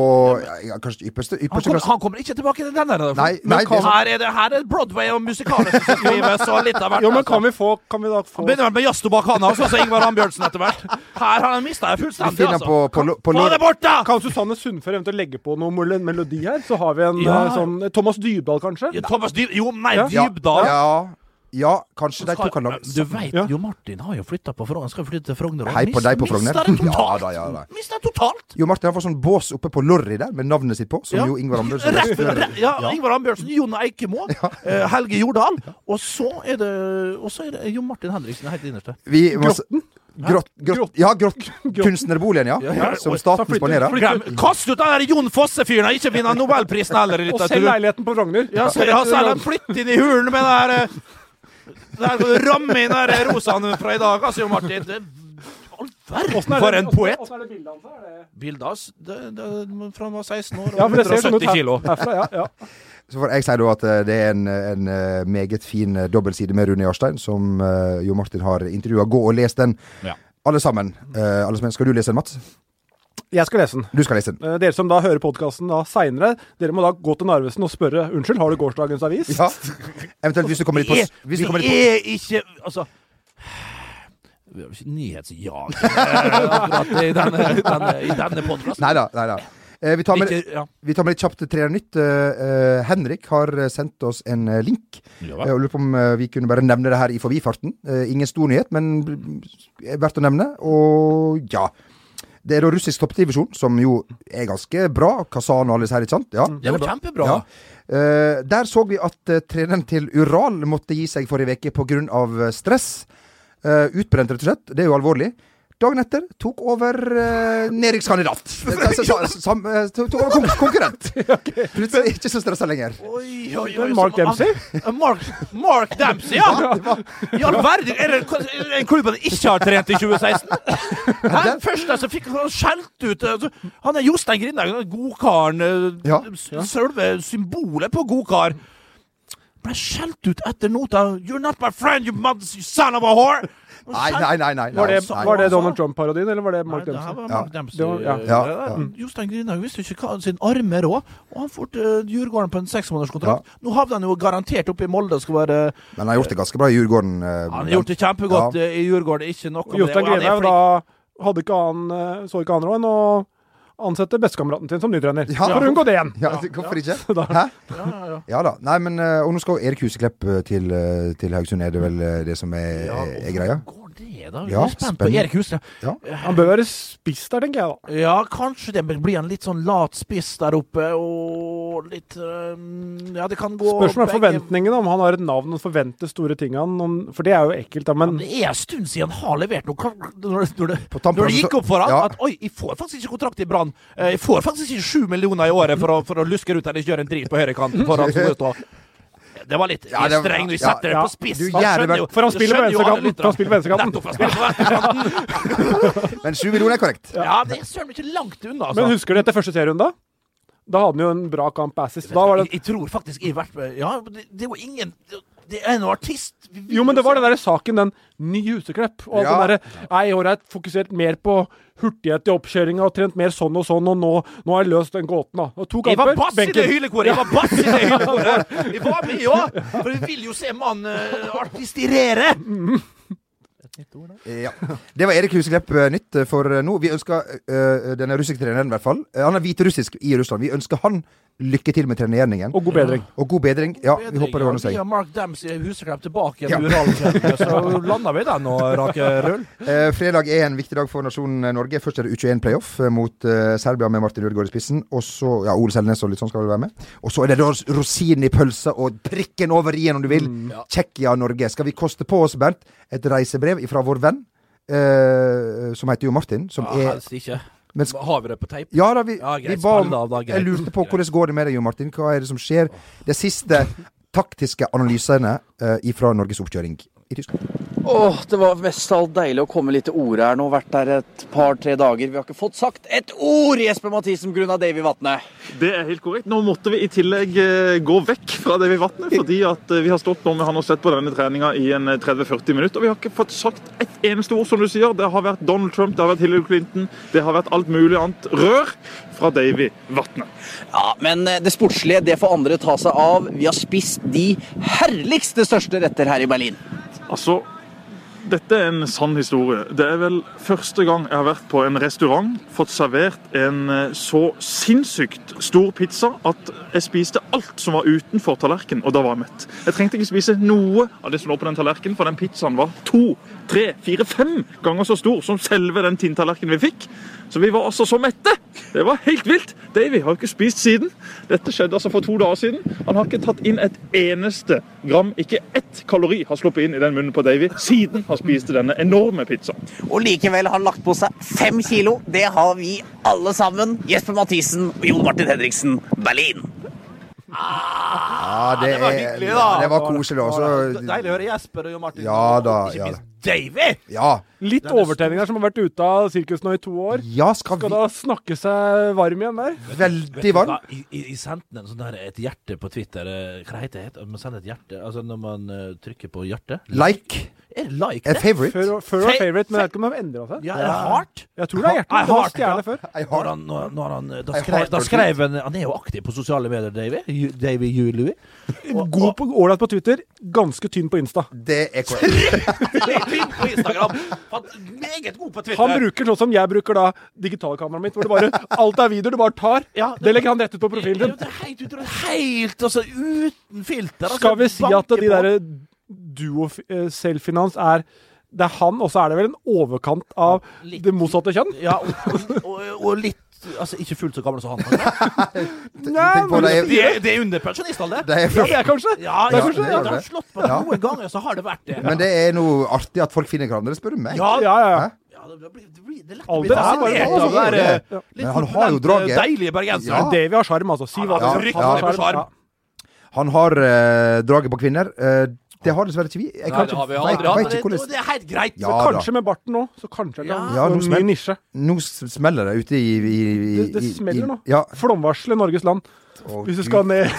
[SPEAKER 2] ja, Kanskje ypperste,
[SPEAKER 1] han,
[SPEAKER 2] ypperste
[SPEAKER 1] kom,
[SPEAKER 2] klasse?
[SPEAKER 1] han kommer ikke tilbake til den der. da.
[SPEAKER 2] Nei,
[SPEAKER 1] Men
[SPEAKER 2] nei,
[SPEAKER 1] kan-
[SPEAKER 2] det-
[SPEAKER 1] her, er det, her er det Broadway og musikaler som skal skrives, og litt av hvert.
[SPEAKER 3] Jo, men
[SPEAKER 1] altså.
[SPEAKER 3] kan vi få Kan vi da få
[SPEAKER 1] Han begynner vel med jazztobakk, han også, så Ingvar Ambjørnsen etter hvert. Her har han mista
[SPEAKER 2] Vi
[SPEAKER 1] fullstendig,
[SPEAKER 2] finner
[SPEAKER 1] altså.
[SPEAKER 2] på, på, lo- på,
[SPEAKER 1] Få det
[SPEAKER 2] lår-
[SPEAKER 1] bort, da!
[SPEAKER 3] Kan Susanne Sundfør eventuelt legge på noe mel- melodi her? Så har vi en
[SPEAKER 1] Ja.
[SPEAKER 3] eh, sånn Thomas Dybdahl, kanskje?
[SPEAKER 1] Ja, Thomas Dyb... Jo, nei,
[SPEAKER 3] Ja.
[SPEAKER 1] Dybdahl.
[SPEAKER 2] Ja, ja, kanskje de to kan lage
[SPEAKER 1] Du veit
[SPEAKER 3] Ja.
[SPEAKER 1] jo Martin har jo flytta på Frogner. Han skal flytte til Frogner. og
[SPEAKER 2] Hei på
[SPEAKER 1] mis-
[SPEAKER 2] deg på Frogner.
[SPEAKER 1] Mister det
[SPEAKER 2] Ja
[SPEAKER 1] totalt.
[SPEAKER 2] da, ja da.
[SPEAKER 1] Mister det totalt.
[SPEAKER 2] Jo Martin har fått sånn bås oppe på lorry der, med navnet sitt på, som
[SPEAKER 1] Ja.
[SPEAKER 2] jo Ingvar Ambjørnsen
[SPEAKER 1] Rett,
[SPEAKER 2] resten-
[SPEAKER 1] rett, ja, Ingvar Ambjørnsen, Jon Eikemo, eh, Helge Jordal. Og så er det Og så er det Jon Martin Henriksen helt innerst der.
[SPEAKER 2] Vi må s- Grått, grått, ja, grått, kunstnerboligen, ja.
[SPEAKER 1] ja.
[SPEAKER 2] Som staten
[SPEAKER 3] Flytter-
[SPEAKER 2] spanderer.
[SPEAKER 3] flytter-
[SPEAKER 1] Glem- Kast ut den der Jon Fosse-fyren! han Ikke vinner Nobelprisen heller i
[SPEAKER 3] Og selg
[SPEAKER 1] litteratur.
[SPEAKER 3] leiligheten på Frogner.
[SPEAKER 1] Ja, så, ja, selv om flytt inn i hulen med den der eh, Der kan du ramme inn den der rosaen fra i dag, altså, Jon Martin. Det, all verden for en poet!
[SPEAKER 3] Åssen er det bildet hans? Er det-
[SPEAKER 1] Bildet hans det- det- fra han var 16 år
[SPEAKER 3] Ja,
[SPEAKER 1] og
[SPEAKER 3] for det ser sånn ut
[SPEAKER 1] 170
[SPEAKER 3] her-
[SPEAKER 1] kilo.
[SPEAKER 3] herfra. Ja, ja.
[SPEAKER 2] Så får jeg si da at eh, det er en, en eh, meget fin eh, dobbeltside med Rune Jarstein, som eh, Jo Martin har intervjua. Gå og les den,
[SPEAKER 1] Ja.
[SPEAKER 2] alle sammen. Eh, alle som, skal du lese den, Mats?
[SPEAKER 3] Jeg skal lese den.
[SPEAKER 2] Du skal lese den.
[SPEAKER 3] Eh, Dere som da hører podkasten seinere, dere må da gå til Narvesen og spørre Unnskyld, har du gårsdagens avis?
[SPEAKER 2] Ja. Eventuelt hvis du kommer litt på
[SPEAKER 1] Vi
[SPEAKER 2] s-
[SPEAKER 1] er-
[SPEAKER 2] hvis du kommer
[SPEAKER 1] Vi
[SPEAKER 2] litt på,
[SPEAKER 1] er ikke Altså vi har jo ikke nyhetsjag eh, akkurat i denne, i denne, i denne podkasten.
[SPEAKER 2] Nei da. Nei da. Eh, vi tar med
[SPEAKER 1] Ikke- ja.
[SPEAKER 2] Vi tar med litt kjapt tre nytt. Eh, eh, Henrik har eh, sendt oss en eh, link. Eh, og lurer på om eh, vi kunne bare nevne det her i forbifarten. Eh, ingen stor nyhet, men eh, verdt å nevne. Og ja. Det er da russisk toppdivisjon, som jo er ganske bra. Kazan og alle disse her, ikke sant? Ja,
[SPEAKER 3] Mm,
[SPEAKER 1] Det
[SPEAKER 2] den
[SPEAKER 1] var
[SPEAKER 2] er bra.
[SPEAKER 1] kjempebra.
[SPEAKER 2] Ja. Eh, der så vi at eh, treneren til Ural måtte gi seg forrige uke pga. stress. Eh, utbrent, rett og slett. Det er jo alvorlig. Dagen etter tok over eh, nedrykkskandidat. Eh, sam- sam- eh, Tok tok over kon konkurrent. Plutselig ikke så stressa lenger.
[SPEAKER 1] Oi, oi,
[SPEAKER 3] Det
[SPEAKER 1] oi,
[SPEAKER 3] er Mark
[SPEAKER 1] som-
[SPEAKER 3] Dempsey.
[SPEAKER 1] Ah, Mark, Mark Dempsey, ja! I all verden! Er det er det en klubb han ikke har trent i 2016? Den første som fikk han skjelt ut altså, Han er Jostein Grindhaug, den godkaren. eh,
[SPEAKER 2] Ja.
[SPEAKER 1] s- Selve symbolet på godkar. Ble skjelt ut etter nota. You're not my friend, you mother, you son of a whore!
[SPEAKER 2] Nei, nei, nei. nei,
[SPEAKER 3] Var det,
[SPEAKER 2] nei.
[SPEAKER 3] var det Donald Trump-parodien, eller var det Mark
[SPEAKER 1] Nei, det her
[SPEAKER 3] Dempsey?
[SPEAKER 1] var
[SPEAKER 2] Ja.
[SPEAKER 1] Mark Dempsey.
[SPEAKER 3] Det var- ja.
[SPEAKER 1] eh,
[SPEAKER 2] Ja,
[SPEAKER 1] der.
[SPEAKER 2] ja.
[SPEAKER 1] Mm. Jostein Grinhaug visste jo ikke hva sin arme råd, og han får til Djurgården på en seksmånederskontrakt. Nå havner han jo garantert oppe i Molde og skal være
[SPEAKER 2] Men han har gjort det ganske bra i Djurgården. eh,
[SPEAKER 1] Han har gjort det kjempegodt
[SPEAKER 2] Ja.
[SPEAKER 1] eh, i Djurgården, ikke noe om det.
[SPEAKER 3] Jostein
[SPEAKER 1] og han er
[SPEAKER 3] Grinhaug,
[SPEAKER 1] flink.
[SPEAKER 3] da hadde ikke han, eh, så ikke han råd enn å ansette bestekameraten sin som ny trener.
[SPEAKER 2] Ja.
[SPEAKER 3] For å unngå det igjen.
[SPEAKER 2] Ja, hvorfor ikke?
[SPEAKER 3] da-
[SPEAKER 2] Hæ?
[SPEAKER 1] Ja, ja, ja.
[SPEAKER 2] Ja da. Nei, men eh, Og nå skal jo Erik Huseklepp eh, til, eh, til Haugesund, er det vel eh, det som er,
[SPEAKER 1] Ja,
[SPEAKER 2] er, er
[SPEAKER 1] hvorfor
[SPEAKER 2] greia?
[SPEAKER 1] Går det, da? Vi
[SPEAKER 2] Ja,
[SPEAKER 1] er spent på
[SPEAKER 2] spennende.
[SPEAKER 1] Erik Husle.
[SPEAKER 2] Ja.
[SPEAKER 3] Han bør være spiss der, tenker jeg da.
[SPEAKER 1] Ja, kanskje det blir en litt sånn lat spiss der oppe, og litt eh, Ja, det kan gå
[SPEAKER 3] Spørsmålet er
[SPEAKER 1] begge-
[SPEAKER 3] forventningene, om han har et navn og forventer store ting av han. om- For det er jo ekkelt, da. Men
[SPEAKER 1] Det er en stund siden han har levert noe. Kan- Når det, når det,
[SPEAKER 2] På tampen
[SPEAKER 1] når det gikk
[SPEAKER 2] så-
[SPEAKER 1] opp for han
[SPEAKER 2] ja.
[SPEAKER 1] at oi, jeg får faktisk ikke kontrakt i Brann. Eh, Jeg får faktisk ikke sju millioner i året for å, for å luske rundt eller ikke gjøre en drit på høyrekanten. for han som er ute og- Det var litt
[SPEAKER 2] Ja,
[SPEAKER 1] jeg er
[SPEAKER 2] det var-
[SPEAKER 1] streng når jeg
[SPEAKER 2] ja,
[SPEAKER 1] setter
[SPEAKER 3] ja.
[SPEAKER 1] det på spiss.
[SPEAKER 2] Du
[SPEAKER 1] Man
[SPEAKER 2] jævlig
[SPEAKER 1] skjønner jo-
[SPEAKER 3] For han
[SPEAKER 1] det
[SPEAKER 3] spiller på
[SPEAKER 1] skjønner jo alle
[SPEAKER 3] venstrekanten,
[SPEAKER 1] lytterne.
[SPEAKER 3] for han spiller på venstrekanten.
[SPEAKER 1] Nettopp, han spiller på venstrekanten.
[SPEAKER 2] Men sju millioner er korrekt.
[SPEAKER 1] Ja, det er søren meg ikke langt unna, altså.
[SPEAKER 3] Men husker du etter første serierunde? Da hadde han jo en bra kamp assist. Da var
[SPEAKER 1] jeg,
[SPEAKER 3] det
[SPEAKER 1] jeg tror faktisk jeg har vært med Ja, men det, det er jo ingen det- Det er en artist. Vi vil
[SPEAKER 3] jo, men det var den
[SPEAKER 1] se-
[SPEAKER 3] der saken, den ny Huseklepp. Og alt
[SPEAKER 2] Ja.
[SPEAKER 3] det derre Nei, i år har jeg fokusert mer på hurtighet i oppkjøringa og trent mer sånn og sånn, og nå, nå har jeg løst den gåten, da. Og to
[SPEAKER 1] Jeg var
[SPEAKER 3] kamper,
[SPEAKER 1] bass i det hylekoret! Jeg var bass i det hylekoret! Jeg var med, ja! For vi vil jo se mannen uh, artistirere!
[SPEAKER 2] Eh, Ja. Det var Erik Huseklepp eh, nytt eh, for eh, nå. Vi ønsker eh, denne russiske treneren, i hvert fall. eh, han er hviterussisk i Russland. Vi ønsker han lykke til med treneringen.
[SPEAKER 3] Og god bedring.
[SPEAKER 2] Og god bedring. Ja, vi håper det ordner
[SPEAKER 1] Vi
[SPEAKER 2] seg.
[SPEAKER 1] har Mark Dempsey Huseklepp tilbake
[SPEAKER 2] Ja.
[SPEAKER 1] igjen, Uralkjell, så lander vi den og raker rull.
[SPEAKER 2] Eh, fredag er en viktig dag for nasjonen eh, Norge. Først er det U21-playoff mot eh, Serbia med Martin Ødegaard i spissen. Og så ja, Ole Selnes og litt sånn skal vel være med. Og så er det da ros- rosinen i pølsa og prikken over i-en, om du vil.
[SPEAKER 1] Mm,
[SPEAKER 2] Tsjekkia, Norge. Skal vi koste på oss, Bernt, et reisebrev fra vår venn, eh, som heter jo Martin, som
[SPEAKER 1] Ja,
[SPEAKER 2] er
[SPEAKER 1] helst ikke.
[SPEAKER 2] men sk-
[SPEAKER 1] Har vi det på teip?
[SPEAKER 2] ja da, vi,
[SPEAKER 1] Ja, greit,
[SPEAKER 2] vi ba om
[SPEAKER 1] spill av da, greit.
[SPEAKER 2] Jeg lurte på hvordan går det med deg, Jo Martin. Hva er det som skjer? De siste taktiske analysene eh, fra Norges oppkjøring i Tyskland.
[SPEAKER 6] Åh, det var mest av alt deilig å komme litt til orde her nå. Vært der et par-tre dager. Vi har ikke fått sagt et ord, Jesper Mathisen, pga. Davy Vatne.
[SPEAKER 7] Det er helt korrekt. Nå måtte vi i tillegg eh, gå vekk fra det vi vatnet, fordi at eh, vi har stått nå med han og sett på denne treninga i en eh, 30-40 minutter, og vi har ikke fått sagt ett eneste ord, som du sier. Det har vært Donald Trump, det har vært Hillary Clinton, det har vært alt mulig annet rør fra Davy Vatne.
[SPEAKER 6] Ja, men eh, det sportslige det får andre ta seg av. Vi har spist de herligste største retter her i Berlin.
[SPEAKER 7] Altså, dette er en sann historie. Det er vel første gang jeg har vært på en restaurant, fått servert en eh, så sinnssykt stor pizza at jeg spiste alt som var utenfor tallerkenen, og da var jeg mett. Jeg trengte ikke spise noe av det som lå på den tallerkenen, for den pizzaen var to, tre, fire, fem ganger så stor som selve den tinntallerkenen vi fikk. Så vi var altså så mette! Det var helt vilt. Davy har jo ikke spist siden. Dette skjedde altså for to dager siden. Han har ikke tatt inn et eneste gram, ikke ett kalori har sluppet inn i den munnen på Davy siden han spiste denne enorme pizzaen.
[SPEAKER 6] Og likevel har han lagt på seg fem kilo. Det har vi alle sammen. Jesper Mathisen og Jon Martin Henriksen, Berlin.
[SPEAKER 2] Ja, det,
[SPEAKER 1] det var
[SPEAKER 2] er-
[SPEAKER 1] hyggelig, da.
[SPEAKER 2] ja, Det var koselig.
[SPEAKER 1] Det
[SPEAKER 2] Også,
[SPEAKER 1] er Deilig å høre Jesper og Jon Martin.
[SPEAKER 2] Ja da,
[SPEAKER 1] Ikke
[SPEAKER 2] ja da.
[SPEAKER 1] minst Davy!
[SPEAKER 2] ja.
[SPEAKER 3] Litt overtenning der, som har vært ute av sirkus nå i to år.
[SPEAKER 2] ja, skal
[SPEAKER 3] Skal da
[SPEAKER 2] vi
[SPEAKER 3] snakke seg varm igjen der.
[SPEAKER 1] Vet
[SPEAKER 2] Veldig
[SPEAKER 1] du
[SPEAKER 2] varm.
[SPEAKER 1] hva? I, i, I sendte en sånn der et hjerte på Twitter eh, Hva heter det? Man sender et hjerte Altså når man eh, trykker på hjertet
[SPEAKER 2] Like.
[SPEAKER 1] Er det like
[SPEAKER 2] A
[SPEAKER 1] det?
[SPEAKER 2] favorite.
[SPEAKER 3] Før, før var
[SPEAKER 1] Fe-
[SPEAKER 3] favorite, men jeg vet ikke om det har endra seg.
[SPEAKER 1] Ja, er det hardt?
[SPEAKER 3] Jeg tror det er hjertet.
[SPEAKER 1] Nei,
[SPEAKER 3] Det var
[SPEAKER 1] hardt, ja.
[SPEAKER 3] stjerne før.
[SPEAKER 2] Jeg
[SPEAKER 1] Når
[SPEAKER 2] har
[SPEAKER 1] han, når, når han, eh, da,
[SPEAKER 2] Jeg
[SPEAKER 1] skrev,
[SPEAKER 2] hater
[SPEAKER 1] da
[SPEAKER 2] det.
[SPEAKER 1] skrev han eh, Han er jo aktiv på sosiale medier, Davy. Ju- Davy Julie.
[SPEAKER 3] God på, ålreit på Twitter, ganske tynn på Insta.
[SPEAKER 2] Det er korrekt.
[SPEAKER 1] på Instagram! Han, meget god på Twitter.
[SPEAKER 3] Han bruker sånn som jeg bruker da digitalkameraet mitt, hvor det bare alt er video du bare tar.
[SPEAKER 1] Ja,
[SPEAKER 3] det legger han rett ut på profilen
[SPEAKER 1] Det er jo
[SPEAKER 3] din.
[SPEAKER 1] det helt, utrolig, helt altså, uten filter. Altså,
[SPEAKER 3] Skal vi si at
[SPEAKER 1] banker
[SPEAKER 3] de
[SPEAKER 1] på.
[SPEAKER 3] der duo-selvfinans er det er han, og så er det vel en overkant av
[SPEAKER 1] Litt.
[SPEAKER 3] det motsatte kjønn?
[SPEAKER 1] Ja, og, og, og, og litt Altså, ikke fullt så gammel som han.
[SPEAKER 2] Tenk på det.
[SPEAKER 1] Det er, det er under pensjonistalder.
[SPEAKER 2] Det er
[SPEAKER 3] Ja, det er kanskje.
[SPEAKER 1] Ja,
[SPEAKER 2] Ja,
[SPEAKER 1] ja,
[SPEAKER 2] det
[SPEAKER 1] det,
[SPEAKER 2] gjør
[SPEAKER 1] har
[SPEAKER 2] det.
[SPEAKER 1] slått meg
[SPEAKER 2] Ja.
[SPEAKER 1] noen ganger, så har det vært det.
[SPEAKER 2] Men det er noe artig at folk finner hverandre, spør du meg.
[SPEAKER 1] Ja,
[SPEAKER 3] Ja, ja, ja.
[SPEAKER 1] ja, det, blir, det, blir, det er lett å
[SPEAKER 3] Alder
[SPEAKER 1] bli
[SPEAKER 3] er bare
[SPEAKER 1] fascinert
[SPEAKER 3] alder,
[SPEAKER 1] av det
[SPEAKER 2] det er
[SPEAKER 1] der.
[SPEAKER 2] jo
[SPEAKER 1] eh,
[SPEAKER 2] Men
[SPEAKER 1] Litt
[SPEAKER 2] han har jo
[SPEAKER 1] korpulente,
[SPEAKER 2] draget.
[SPEAKER 1] Deilige bergensere.
[SPEAKER 2] Ja.
[SPEAKER 3] Davy har sjarm, altså. Si
[SPEAKER 1] Ja,
[SPEAKER 3] hva
[SPEAKER 1] ja,
[SPEAKER 3] du vil.
[SPEAKER 1] ja.
[SPEAKER 3] Han har
[SPEAKER 1] Rykk
[SPEAKER 3] sjarm.
[SPEAKER 1] ned på sjarm.
[SPEAKER 2] Han har eh, draget på kvinner. eh, Det har dessverre ikke vi. Jeg
[SPEAKER 1] Nei,
[SPEAKER 2] kan
[SPEAKER 1] det har vi
[SPEAKER 2] ikke-
[SPEAKER 1] aldri hatt.
[SPEAKER 2] vet-
[SPEAKER 1] men
[SPEAKER 2] vet ikke
[SPEAKER 1] Det,
[SPEAKER 2] hvordan-
[SPEAKER 1] det er helt greit.
[SPEAKER 2] Ja,
[SPEAKER 3] så
[SPEAKER 2] da.
[SPEAKER 3] kanskje med barten nå. Så kanskje det
[SPEAKER 2] Ja, nå, smell,
[SPEAKER 3] ny nisje.
[SPEAKER 2] nå s- smeller det ute i, i, i
[SPEAKER 3] Det, det
[SPEAKER 2] i- i-
[SPEAKER 3] smeller nå.
[SPEAKER 2] Ja.
[SPEAKER 3] Flomvarsel i Norges land.
[SPEAKER 2] Å,
[SPEAKER 3] Hvis
[SPEAKER 2] Gud.
[SPEAKER 3] du skal ned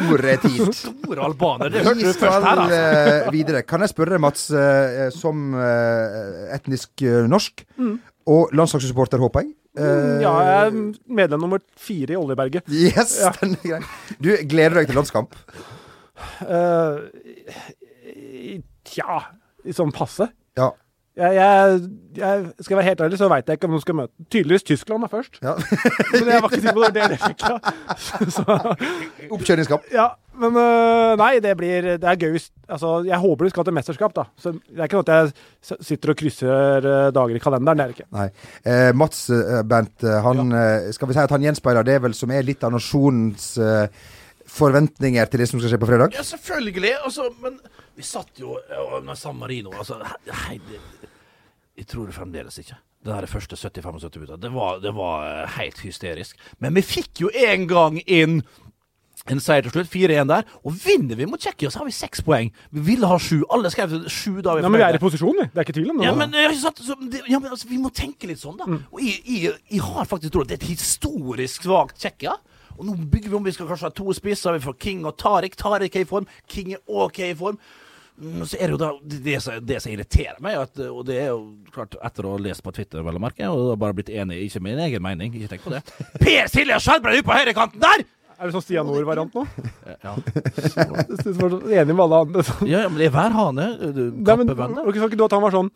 [SPEAKER 2] Store tid.
[SPEAKER 1] Store albaner. Det hørte
[SPEAKER 2] Vi
[SPEAKER 1] du først
[SPEAKER 2] skal
[SPEAKER 1] her, altså.
[SPEAKER 2] eh, videre. Kan jeg spørre deg, Mats, eh, som eh, etnisk eh, norsk,
[SPEAKER 3] Mm.
[SPEAKER 2] og landslagssupporter, håper jeg? Eh,
[SPEAKER 3] Ja, jeg er medlem nummer fire i Oljeberget.
[SPEAKER 2] Yes,
[SPEAKER 3] Ja.
[SPEAKER 2] den er grei. Du gleder deg til landskamp?
[SPEAKER 3] Eh, tja i Sånn passe.
[SPEAKER 2] Ja.
[SPEAKER 3] Jeg, jeg, jeg, skal jeg være helt ærlig, så veit jeg ikke om de skal møte Tydeligvis Tyskland da først. men jeg var ikke sikker på det. det, er det jeg fikk, ja. Så-
[SPEAKER 2] Oppkjøringskamp.
[SPEAKER 3] Ja, men øh, nei, det blir Det er gøy hvis Altså, jeg håper de skal til mesterskap, da. Så det er ikke noe at jeg s- sitter og krysser øh, dager i kalenderen. Det er det ikke.
[SPEAKER 2] Nei. Eh, Mats eh, Bernt, eh, han eh, Skal vi si at han gjenspeiler det vel som er litt av nasjonens eh, forventninger til det som skal skje på fredag?
[SPEAKER 1] Ja, selvfølgelig. Altså, men vi satt jo ja, med San Marino altså, he- hei, det, Jeg tror det fremdeles ikke. Det der første 75-70 minutter, det var, det var eh, helt hysterisk. Men vi fikk jo en gang inn en seier til slutt, 4-1 der. Og vinner vi mot Tsjekkia, så har vi seks poeng. Vi ville ha sju. Alle skrev sju da vi
[SPEAKER 3] Nei, men vi
[SPEAKER 1] fornøyde.
[SPEAKER 3] er i posisjon, vi. Det er ikke tvil om det.
[SPEAKER 1] Ja, men, jeg har ikke sagt, så, det, ja, men altså, vi må tenke litt sånn, da. Og jeg, jeg, jeg har faktisk trodd at det er et historisk svakt Tsjekkia. Og nå bygger vi om. Vi skal kanskje ha to spisser. Vi får King og Tariq. Tariq er i form. King er OK i form. Mm, Så er det jo da det, det, som, det som irriterer meg, at, eh, og det er jo klart etter å ha lest på Twitter, vel å merke, og da bare blitt enig, ikke min egen mening, ikke tenk på det. Per Silje Skjelbreid ute på høyrekanten der!
[SPEAKER 3] Er det sånn Stian Nord-variant nå?
[SPEAKER 1] Ja.
[SPEAKER 3] Jeg synes det var så Enig med alle andre. sånn.
[SPEAKER 1] ja, men det er hver hane.
[SPEAKER 3] Nei, men, ok, sa ikke du at han var sånn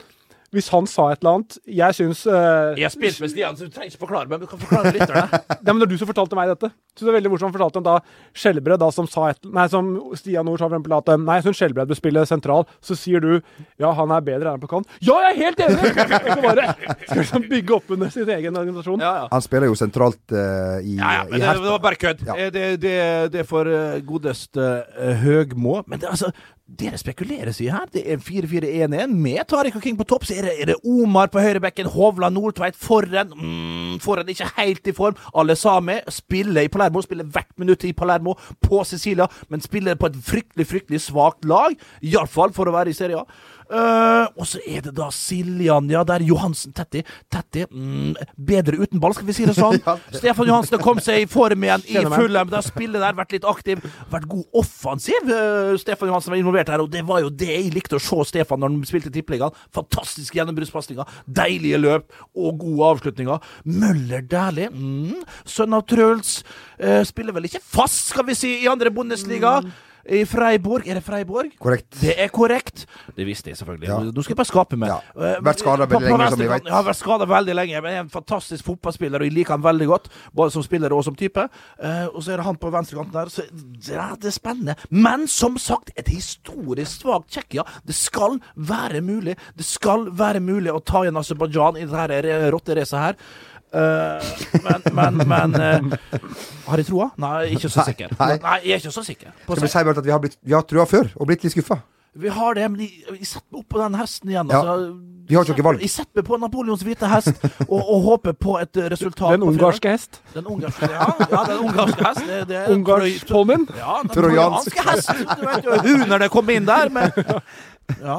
[SPEAKER 3] Hvis han sa et eller annet Jeg syns øh,
[SPEAKER 1] Jeg har spilt med Stian, så du trenger ikke forklare meg, men du kan forklare lytterne.
[SPEAKER 3] Nei, men Det er du som fortalte meg dette. Så det er veldig morsomt han fortalte om da Skjelbred, da, som, sa et, nei, som Stian Nord sa for eksempel at eh, Nei, jeg syns Skjelbred bør spille sentral. Så sier du ja, han er bedre enn han på kant. Ja, jeg er helt enig! Jeg kan bare skal liksom bygge opp under sin egen organisasjon.
[SPEAKER 2] Han spiller jo sentralt eh, i,
[SPEAKER 1] Ja,
[SPEAKER 2] i
[SPEAKER 1] men det,
[SPEAKER 2] Hertha.
[SPEAKER 1] det var bare kødd. Eh, Det, det, det er for eh, godeste eh, Høgmo. Men det, altså, dere spekuleres i her. Det er 4-4-1-1 med Tariq og King på topp. Så er det, er det Omar på høyrebekken, Hovland, Nordtveit foran. Mm, foran ikke helt i form. Alle Sami spiller i Palermo, spiller hvert minutt i Palermo, på Sicilia, men spiller på et fryktelig, fryktelig svakt lag. Iallfall for å være i Serie A. Eh, og så er det da Siljan, ja, der Johansen Tetti. Tetti mm, bedre uten ball, skal vi si det sånn. Stefan Johansen har kommet seg i form igjen i
[SPEAKER 3] Kjenner meg.
[SPEAKER 1] Fulham. Det har spillet der vært litt aktiv. Vært god offensiv. Eh, Stefan Johansen var involvert her, og det var jo det jeg likte å se Stefan når han spilte i Tippeligaen. Fantastiske gjennombruddspasninger, deilige løp og gode avslutninger. Møller Dæhlie, mm, sønn av Truls, eh, spiller vel ikke fast, skal vi si, i andre Bundesliga.
[SPEAKER 3] Mm.
[SPEAKER 1] I Freiborg. Er det Freiborg?
[SPEAKER 2] Korrekt.
[SPEAKER 1] Det er korrekt. Det visste jeg selvfølgelig. Nå skal jeg bare skape meg. Eh,
[SPEAKER 2] Vært skadet
[SPEAKER 1] på-
[SPEAKER 2] veldig
[SPEAKER 1] på
[SPEAKER 2] lenge, som vi
[SPEAKER 1] venstrekanten.
[SPEAKER 2] vet.
[SPEAKER 1] Ja, vært skadet veldig lenge, men er en fantastisk fotballspiller, og jeg liker han veldig godt. Både som spiller og som type. Eh, og så er det han på venstrekanten der. Så, ja, det er spennende. Men som sagt, et historisk svakt Tsjekkia. Det skal være mulig. Det skal være mulig å ta igjen Aserbajdsjan i dette re- rotteracet her. Eh, men, men, men eh, Har jeg troa? Nei, ikke så
[SPEAKER 2] Nei,
[SPEAKER 1] sikker.
[SPEAKER 2] nei.
[SPEAKER 1] Nei, jeg er ikke så sikker. På
[SPEAKER 2] Skal vi si bare at vi har, blitt, vi har trua før, og blitt litt skuffa?
[SPEAKER 1] vi har det, men jeg, jeg setter meg opp på den hesten igjen.
[SPEAKER 2] Ja.
[SPEAKER 1] Altså.
[SPEAKER 2] Vi har jo ikke valg.
[SPEAKER 1] Jeg setter meg på Napoleons hvite hest og, og håper på et eh, resultat.
[SPEAKER 3] Den
[SPEAKER 1] på fredag.
[SPEAKER 3] ungarske hest.
[SPEAKER 1] Den ungarske, ja. ja, den ungarske hest. Det, det er
[SPEAKER 3] Ungarsk
[SPEAKER 1] troi-
[SPEAKER 3] ponnien.
[SPEAKER 1] Ja, den
[SPEAKER 2] Trojansk.
[SPEAKER 1] trojanske hest. Du vet jo hunerne kom inn der, men Ja,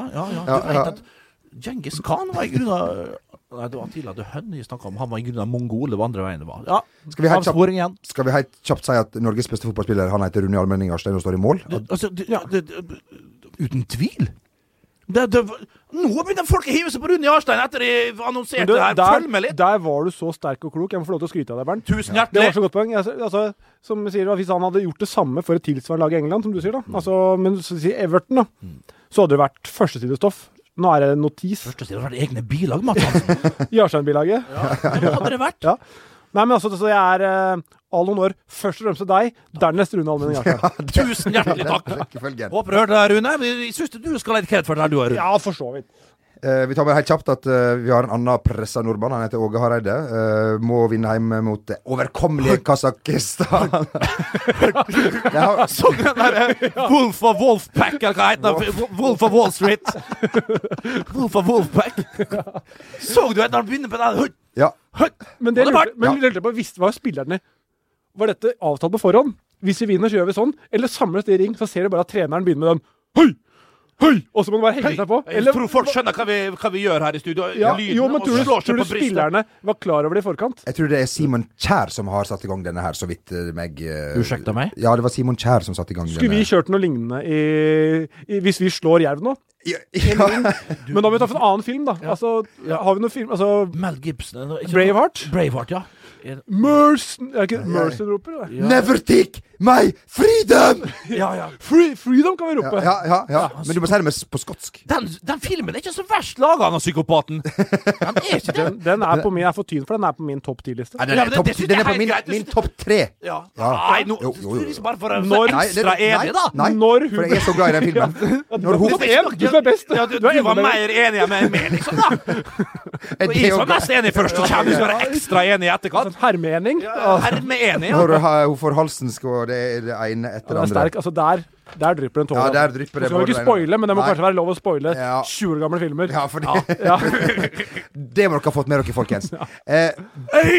[SPEAKER 1] ja, ja. Du
[SPEAKER 2] Ja, ja.
[SPEAKER 1] vet at Djengis Khan var i grunnen Nei, det var tidligere det Hønne jeg snakka om. Han var i grunnen mongol. Det var andre veien det var. Ja,
[SPEAKER 2] Skal vi helt
[SPEAKER 1] avsporing igjen.
[SPEAKER 2] kjapt, skal vi helt kjapt si at Norges beste fotballspiller Han heter Rune Almenning Arstein og står i mål?
[SPEAKER 1] Du, altså, du, ja, det, det, uten tvil. Det, det, nå begynner folk å hive seg på Rune Jarstein etter de annonserte
[SPEAKER 3] Men du,
[SPEAKER 1] det her.
[SPEAKER 3] der,
[SPEAKER 1] Følg med litt!
[SPEAKER 3] der var du så sterk og klok. Jeg må få lov til å skryte av deg, Bernt.
[SPEAKER 1] Tusen hjertelig.
[SPEAKER 3] Det var så godt poeng. Jeg- Altså, som jeg sier, da, Hvis han hadde gjort det samme for et tilsvarende lag i England, som du sier, da,
[SPEAKER 1] Mm.
[SPEAKER 3] altså, men så sier Everton, da, så hadde det vært førstesidestoff. Nå er det notis
[SPEAKER 1] Først og fremst har de egne bilag, Mats Hansen.
[SPEAKER 3] i Arstein-bilaget.
[SPEAKER 1] Hva hadde det vært?
[SPEAKER 3] Ja. Nei, men altså, så jeg er eh, all honnør først og fremst til deg, dernest Rune Almenning Jarstein.
[SPEAKER 1] Tusen hjertelig takk!
[SPEAKER 2] Rekkefølgen.
[SPEAKER 1] Håper du hørte det, Rune. Jeg syns du skal ha litt kred for det, her, du òg, Rune.
[SPEAKER 3] Ja, for så vidt.
[SPEAKER 2] Eh, vi tar med helt kjapt at eh, vi har en annen pressa nordmann. Han heter Åge Hareide. Eh, må vinne hjemme mot det overkommelige Kasakhstan. Det har-
[SPEAKER 1] Så den der Wolf of Wolfpack, eller hva heter den? Wolf of Wall Street. Wolf of Wolfpack. Så du at han begynner på den? Høy,
[SPEAKER 2] ja,
[SPEAKER 1] høy.
[SPEAKER 3] Men det
[SPEAKER 1] Og det
[SPEAKER 3] lurte,
[SPEAKER 1] Bernt.
[SPEAKER 3] men lurte jeg på, visste var spillerne Var dette avtalt på forhånd? Hvis vi vinner, så gjør vi sånn. Eller samles de i ring, så ser du bare at treneren begynner med den. Høy! Og så må du bare henge seg på.
[SPEAKER 1] Jeg tror folk skjønner hva vi, hva vi gjør her i studio.
[SPEAKER 3] ja,
[SPEAKER 1] Lyden
[SPEAKER 3] jo, men
[SPEAKER 1] og
[SPEAKER 3] tror du,
[SPEAKER 1] slår seg
[SPEAKER 3] tror du
[SPEAKER 1] på brystet.
[SPEAKER 3] spillerne var klar over det i forkant?
[SPEAKER 2] Jeg tror det er Simon Kjær som har satt i gang denne her, så vidt eh, meg eh,
[SPEAKER 3] Ursäkta meg?
[SPEAKER 2] Ja, det var Simon Kjær som satte i gang
[SPEAKER 3] Skulle vi
[SPEAKER 2] denne.
[SPEAKER 3] kjørt noe lignende i, i, hvis vi slår jerv nå? Men da må vi ta for en annen film, da. Altså, Har vi noen film altså,
[SPEAKER 1] Mel Gibson er ikke
[SPEAKER 3] Braveheart?
[SPEAKER 1] Braveheart, ja.
[SPEAKER 3] Mercy Er det ikke Mercy du roper? eller?
[SPEAKER 2] Never take my freedom!
[SPEAKER 1] Ja, ja.
[SPEAKER 3] Free, freedom kan vi rope.
[SPEAKER 2] Ja, ja, ja, Men du må si det med, s- på skotsk.
[SPEAKER 1] Den, den filmen er ikke så verst laga, han psykopaten. Den er ikke det.
[SPEAKER 3] Den, den er på min, jeg er for tynn for den er på min topp ti-liste.
[SPEAKER 1] Ja, den er Ja, men det- topp- det synes den jeg er er på helt min- greit. min
[SPEAKER 2] topp tre.
[SPEAKER 1] Ja.
[SPEAKER 2] Ja.
[SPEAKER 1] Nei, nå
[SPEAKER 2] Jo, jo, jo.
[SPEAKER 1] Liksom bare for å være
[SPEAKER 3] Når-
[SPEAKER 2] Nei, det-
[SPEAKER 1] ekstra
[SPEAKER 2] nei,
[SPEAKER 1] enig, da.
[SPEAKER 2] Nei,
[SPEAKER 3] Når hun
[SPEAKER 2] for jeg er så glad i den filmen. Når hun
[SPEAKER 3] Du er en, du som er best.
[SPEAKER 1] Ja, du,
[SPEAKER 3] Du
[SPEAKER 1] du
[SPEAKER 3] er enda
[SPEAKER 1] var
[SPEAKER 3] bedre.
[SPEAKER 1] mer enig enn meg, meg, liksom, da.
[SPEAKER 2] Er
[SPEAKER 1] Og
[SPEAKER 2] det
[SPEAKER 1] jeg
[SPEAKER 2] å
[SPEAKER 1] var
[SPEAKER 2] gå-
[SPEAKER 1] mest enig først, så kommer du skal være ekstra enig i etterkant.
[SPEAKER 3] Hermeening.
[SPEAKER 1] Ja, Hermeenig, ja.
[SPEAKER 2] Når hun har- hun får halsen skå, det er det ene etter
[SPEAKER 3] Den
[SPEAKER 2] det
[SPEAKER 3] er sterk.
[SPEAKER 2] andre.
[SPEAKER 3] Altså, der, der drypper den tåa.
[SPEAKER 2] Ja, der drypper det
[SPEAKER 3] Nå skal vi
[SPEAKER 2] både
[SPEAKER 3] ikke
[SPEAKER 2] veien.
[SPEAKER 3] spoile, men det må
[SPEAKER 2] Nei.
[SPEAKER 3] kanskje være lov å spoile
[SPEAKER 2] Ja.
[SPEAKER 3] 20 år gamle filmer.
[SPEAKER 2] Ja, for det,
[SPEAKER 3] Ja.
[SPEAKER 2] det må dere ha fått med dere, folkens. Eh,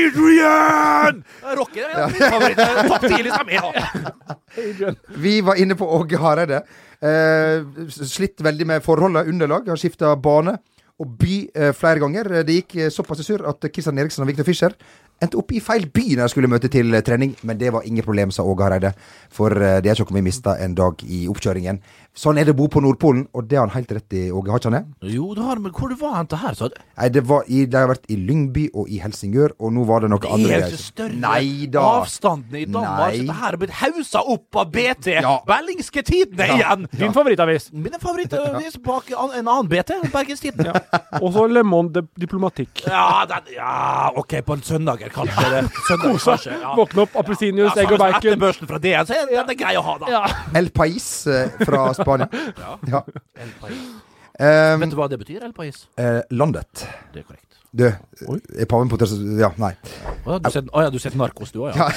[SPEAKER 1] Adrian! Rocker er min favoritt. Topp liksom. ti-lista mi, da.
[SPEAKER 2] Vi var inne på Åge Hareide. Eh, slitt veldig med forholdet, underlag. Har skifta bane og by eh, flere ganger. Det gikk eh, såpass i surr at Kristian Eriksen og Victor Fischer endte opp i feil by når de skulle møte til eh, trening. Men det var ingen problem, sa Åge Hareide. For eh, det er ikke noe vi mista en dag i oppkjøringen. Sånn er det å bo på Nordpolen, og det har han helt rett i, Åge. Har ikke han det?
[SPEAKER 1] Jo, du har, men hvor var han til her, sa du?
[SPEAKER 2] Nei, det var i, de har vært i Lyngby og i Helsingør, og nå var det noe
[SPEAKER 1] Det
[SPEAKER 2] andre
[SPEAKER 1] er jo ikke større
[SPEAKER 2] Nei da.
[SPEAKER 1] avstandene i Danmark.
[SPEAKER 2] Nei.
[SPEAKER 1] så Det her er blitt hausa opp av BT.
[SPEAKER 2] Ja.
[SPEAKER 1] Berlingske Tidende igjen!
[SPEAKER 3] Din favorittavis.
[SPEAKER 1] Min favorittavis bak an- en annen BT, Bergens Tidende.
[SPEAKER 3] Og så Le Monde Diplomatikk.
[SPEAKER 1] Ja, den, ja, OK, på en søndag kanskje. Det. Søndag, kanskje ja.
[SPEAKER 3] Våkne opp,
[SPEAKER 1] Ja,
[SPEAKER 3] appelsinjuice,
[SPEAKER 1] så
[SPEAKER 3] egg og
[SPEAKER 1] Etter
[SPEAKER 3] bacon.
[SPEAKER 1] børsen fra DN, så er den er grei å ha, da.
[SPEAKER 2] El Pais eh, fra Spania. ja.
[SPEAKER 1] El País.
[SPEAKER 2] Eh,
[SPEAKER 1] Vet du hva det betyr, El Pais?
[SPEAKER 2] eh, landet.
[SPEAKER 1] Det er korrekt.
[SPEAKER 2] Du, eh, er paven på test... Ja, nei.
[SPEAKER 1] Å ja, du ser, å, ja, du ser Narkos, du òg, ja.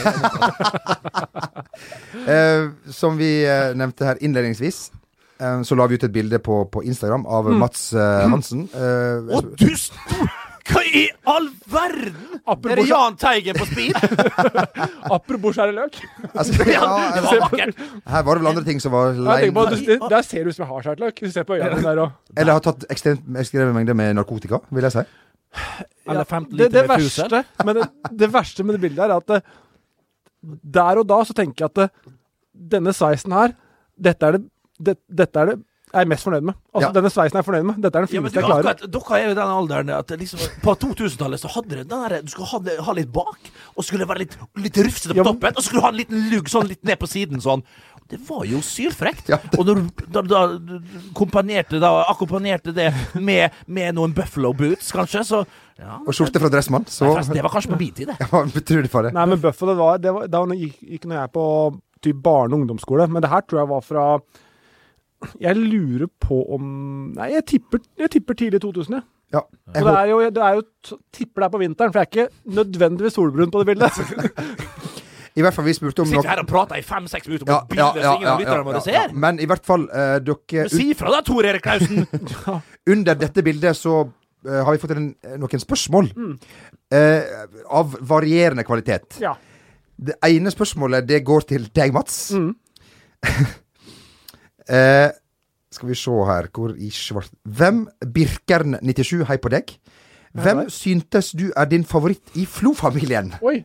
[SPEAKER 2] Eh, som vi eh, nevnte her innledningsvis, eh, så la vi ut et bilde på, på Instagram av
[SPEAKER 1] Mm.
[SPEAKER 2] Mats eh, Hansen. Eh,
[SPEAKER 1] Å, du stor Hva i all verden?! Er det
[SPEAKER 3] Apropos-
[SPEAKER 1] Jahn Teigen på speed?
[SPEAKER 3] Apropos skjære løk.
[SPEAKER 2] altså, ja,
[SPEAKER 1] Det var vakkert!
[SPEAKER 2] her var det vel andre ting som var
[SPEAKER 3] Jeg tenker på,
[SPEAKER 2] lame.
[SPEAKER 3] at du, der ser du ut som jeg har skjært løk. Hvis du ser på øynene dine der òg.
[SPEAKER 2] Eller har tatt ekstremt ekstreme mengder med narkotika, vil jeg si.
[SPEAKER 1] Eller 15
[SPEAKER 3] det, det,
[SPEAKER 1] liter med fuse.
[SPEAKER 3] verste, men det, det verste med det bildet her er at eh, der og da så tenker jeg at eh, denne sveisen her, dette er det, det, dette er det jeg er mest fornøyd med. Altså,
[SPEAKER 2] Ja.
[SPEAKER 3] Denne sveisen er jeg fornøyd med. Dette er den
[SPEAKER 1] Ja, men
[SPEAKER 3] fineste
[SPEAKER 1] du,
[SPEAKER 3] jeg klarer.
[SPEAKER 1] akkurat, dere er jo i den alderen at det liksom, på 2000-tallet så hadde dere den der Du skulle ha, det- ha litt bak, og skulle være litt, litt rufsete på
[SPEAKER 3] Ja, men-
[SPEAKER 1] toppen, og så skulle du ha en liten lugg sånn litt ned på siden sånn. Det var jo sylfrekt.
[SPEAKER 2] Ja,
[SPEAKER 1] Og når du da, da, kompanerte, da akkompagnerte det med, med noen Buffalo boots, kanskje, så ja,
[SPEAKER 2] Og skjorte fra Dressmann, så
[SPEAKER 1] Nei, forresten, Det var kanskje på min tid, det.
[SPEAKER 2] Hva betyr det for det?
[SPEAKER 3] Nei, men Buffalo, det var, det var, da gikk, gikk når jeg på typ barne- og ungdomsskole, men det her tror jeg var fra jeg lurer på om Nei, jeg tipper, jeg tipper tidlig 2000, jeg.
[SPEAKER 2] Ja, jeg
[SPEAKER 3] Og det
[SPEAKER 2] håper-
[SPEAKER 3] er jo, det er jo t- tipper det er på vinteren, for jeg er ikke nødvendigvis solbrun på det bildet.
[SPEAKER 2] I hvert fall vi spurte om
[SPEAKER 1] Sitter
[SPEAKER 2] noe
[SPEAKER 1] her og prater i fem-seks minutter om et bilde som ingen av lytterne våre
[SPEAKER 2] ja.
[SPEAKER 1] ser.
[SPEAKER 2] Men i hvert fall, eh, dere
[SPEAKER 1] Men Si fra da, Tor Erik Klausen!
[SPEAKER 2] Under dette bildet så eh, har vi fått en, noen spørsmål eh, av varierende kvalitet.
[SPEAKER 3] Ja.
[SPEAKER 2] Det ene spørsmålet det går til deg, Mats.
[SPEAKER 3] Mm.
[SPEAKER 2] eh, skal vi se her Hvor i svart Hvem Birkern97, hei på deg. Hvem syntes du er din favoritt i Flo-familien?
[SPEAKER 3] Oi.